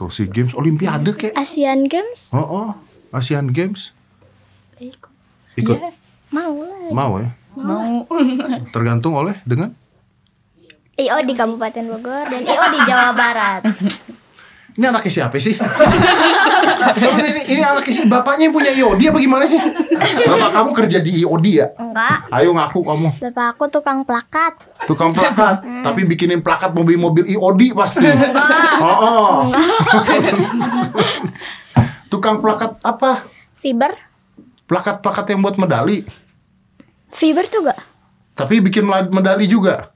S3: Tuh, SEA Games, Olimpiade kayak.
S4: Asian Games
S3: Oh, oh. Asian Games.
S11: Ikut.
S3: Ikut.
S4: mau lah.
S3: Mau ya?
S5: Mau.
S3: Tergantung oleh dengan
S4: IO di Kabupaten Bogor dan IO di Jawa Barat.
S3: ini anaknya siapa sih? ini, ini anaknya sih bapaknya yang punya IOD apa gimana sih? Bapak kamu kerja di IOD ya?
S4: Enggak.
S3: Ayo ngaku kamu
S4: Bapak aku tukang plakat.
S3: tukang plakat, tapi bikinin plakat mobil-mobil IOD pasti. Oh, oh. tukang plakat apa?
S4: Fiber?
S3: Plakat-plakat yang buat medali,
S4: Fiber tuh gak?
S3: tapi bikin mela- medali juga.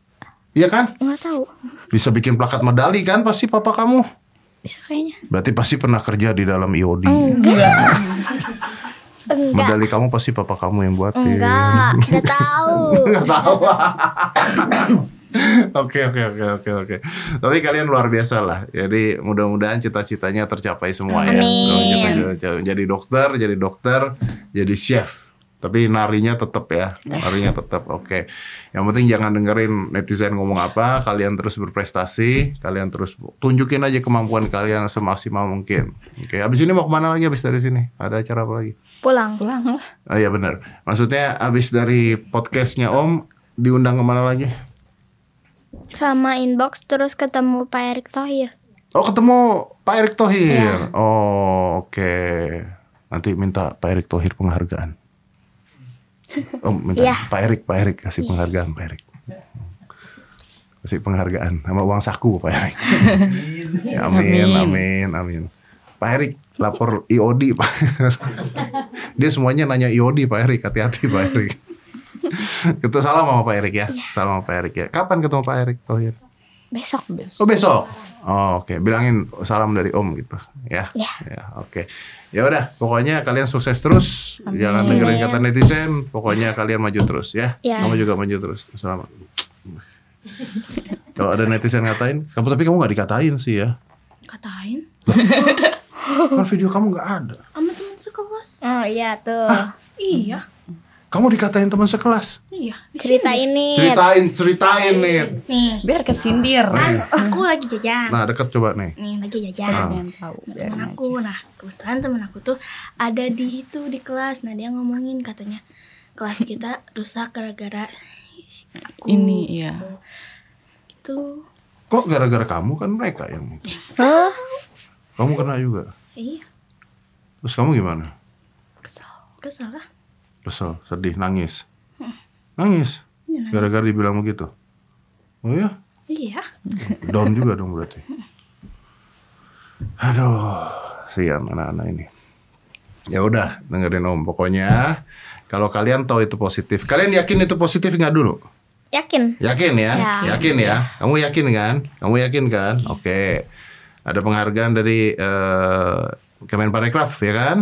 S3: Iya kan?
S4: Enggak tahu.
S3: Bisa bikin plakat medali kan pasti papa kamu.
S4: Bisa kayaknya.
S3: Berarti pasti pernah kerja di dalam E IOD.
S4: Enggak.
S3: Medali kamu pasti papa kamu yang buatin.
S4: Enggak, enggak tahu.
S3: Oke oke oke oke oke. Tapi kalian luar biasa lah. Jadi mudah-mudahan cita-citanya tercapai semua ya.
S4: Amin.
S3: Kalau cita-cita- Jadi dokter, jadi dokter, jadi chef. Tapi narinya tetap ya, narinya tetap. Oke. Yang penting jangan dengerin netizen ngomong apa. Kalian terus berprestasi, kalian terus tunjukin aja kemampuan kalian semaksimal mungkin. Oke. Abis ini mau kemana lagi? Abis dari sini ada acara apa lagi?
S4: Pulang.
S5: Pulang lah.
S3: Oh iya benar. Maksudnya abis dari podcastnya Om diundang kemana lagi?
S4: Sama inbox terus ketemu Pak Erick Thohir.
S3: Oh ketemu Pak Erick Thohir. Oh oke. Nanti minta Pak Erick Thohir penghargaan. Oh minta
S4: Iya.
S3: Pak Erick, Pak Erick kasih penghargaan Pak Erick. Kasih penghargaan sama uang saku Pak Erick. Ya, amin, amin, amin. Pak Erick lapor IOD Pak. Dia semuanya nanya IOD Pak Erick, hati-hati Pak Erick. Kita salam sama Pak Erick ya. Salam sama Pak Erick ya. Kapan ketemu Pak Erick Thohir?
S4: Besok.
S3: Oh besok. Oh, oke, bilangin salam dari Om gitu, ya.
S4: Iya.
S3: Ya, oke. Ya udah, pokoknya kalian sukses terus. Jangan dengerin kata netizen, pokoknya kalian maju terus ya.
S4: Yes.
S3: Kamu juga maju terus. Selamat. Kalau ada netizen ngatain, kamu tapi kamu nggak dikatain sih ya.
S11: Katain.
S3: Kan video kamu nggak ada.
S11: Sama teman sekelas.
S4: Oh iya tuh.
S11: Iya.
S3: Kamu dikatain teman sekelas.
S11: Iya. Di sini.
S4: Cerita ini.
S3: Ceritain, ceritain nih.
S4: Iya.
S11: Nih.
S5: Biar kesindir.
S4: Ah,
S3: Nih.
S11: Aku lagi jajan.
S3: Nah, deket coba nih. Ah.
S11: Nih lagi jajan.
S5: Ada yang tahu. biarin
S11: temen
S5: aja.
S11: aku nah kebetulan temen aku tuh ada di itu di kelas nah dia ngomongin katanya kelas kita rusak gara-gara aku
S5: Ini, iya.
S11: itu
S3: Kok gara-gara kamu kan mereka yang
S4: Hah?
S3: kamu kena juga.
S11: iya
S3: Terus kamu gimana?
S11: kesal kesal lah
S3: Kesel, sedih, nangis. Nangis.
S11: Iya, nangis.
S3: Gara-gara dibilang begitu. Oh ya,
S11: iya
S3: down juga dong berarti. Aduh, sian anak-anak ini. Ya udah, dengerin Om. Pokoknya kalau kalian tahu itu positif, kalian yakin itu positif nggak dulu?
S4: Yakin?
S3: Yakin ya?
S4: Ya.
S3: Yakin ya? Kamu yakin kan? Kamu yakin kan? Oke. Ada penghargaan dari eh, Kemenparekraf ya kan?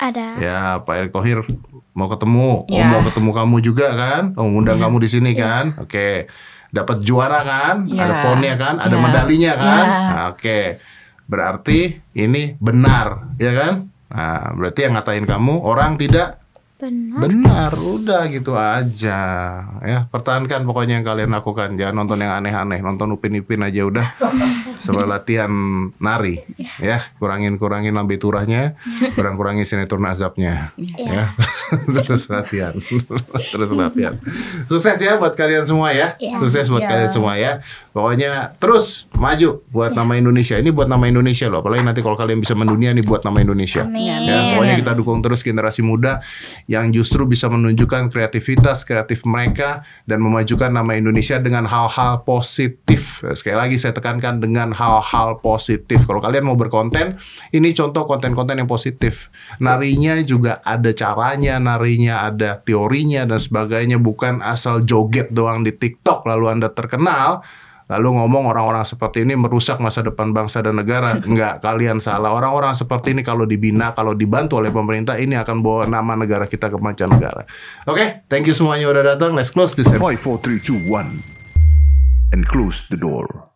S4: Ada.
S3: Ya, Pak Erick Thohir mau ketemu, Om
S5: Ya.
S3: mau ketemu kamu juga kan? Om undang kamu di sini kan? Oke. Dapat juara kan?
S5: Ya.
S3: Ada ponnya kan? Ada
S5: Ya.
S3: medalinya kan?
S5: Ya.
S3: Nah, Oke. Berarti ini benar, ya kan? Nah, berarti yang ngatain kamu orang tidak
S4: Benar.
S3: Benar, udah gitu aja. Ya, pertahankan pokoknya yang kalian lakukan. Jangan nonton yang aneh-aneh, nonton Upin-Ipin aja udah. Sebelum latihan nari,
S4: Iya.
S3: ya, kurangin-kurangin lambe turahnya, kurang-kurangin sinetron azabnya. Ya.
S4: Iya.
S3: Terus latihan. Terus latihan. Sukses ya buat kalian semua ya.
S4: Iya.
S3: Sukses buat
S5: Iya.
S3: kalian semua ya. Pokoknya terus maju
S4: Iya.
S3: buat nama Indonesia. Ini buat nama Indonesia loh. Apalagi nanti kalau kalian bisa mendunia nih buat nama Indonesia.
S4: Amin.
S3: Ya, pokoknya kita dukung terus generasi muda yang justru bisa menunjukkan kreativitas kreatif mereka dan memajukan nama Indonesia dengan hal-hal positif. Sekali lagi saya tekankan dengan hal-hal positif. Kalau kalian mau berkonten, ini contoh konten-konten yang positif. Narinya juga ada caranya, narinya ada teorinya dan sebagainya, bukan asal joget doang di TikTok lalu Anda terkenal. Lalu ngomong orang-orang seperti ini merusak masa depan bangsa dan negara. Enggak, kalian salah. Orang-orang seperti ini kalau dibina, kalau dibantu oleh pemerintah, ini akan bawa nama negara kita ke mancanegara. Oke, thank you semuanya udah datang. Let's close this episode.
S2: 5, 4, 3, 2, 1 And close the door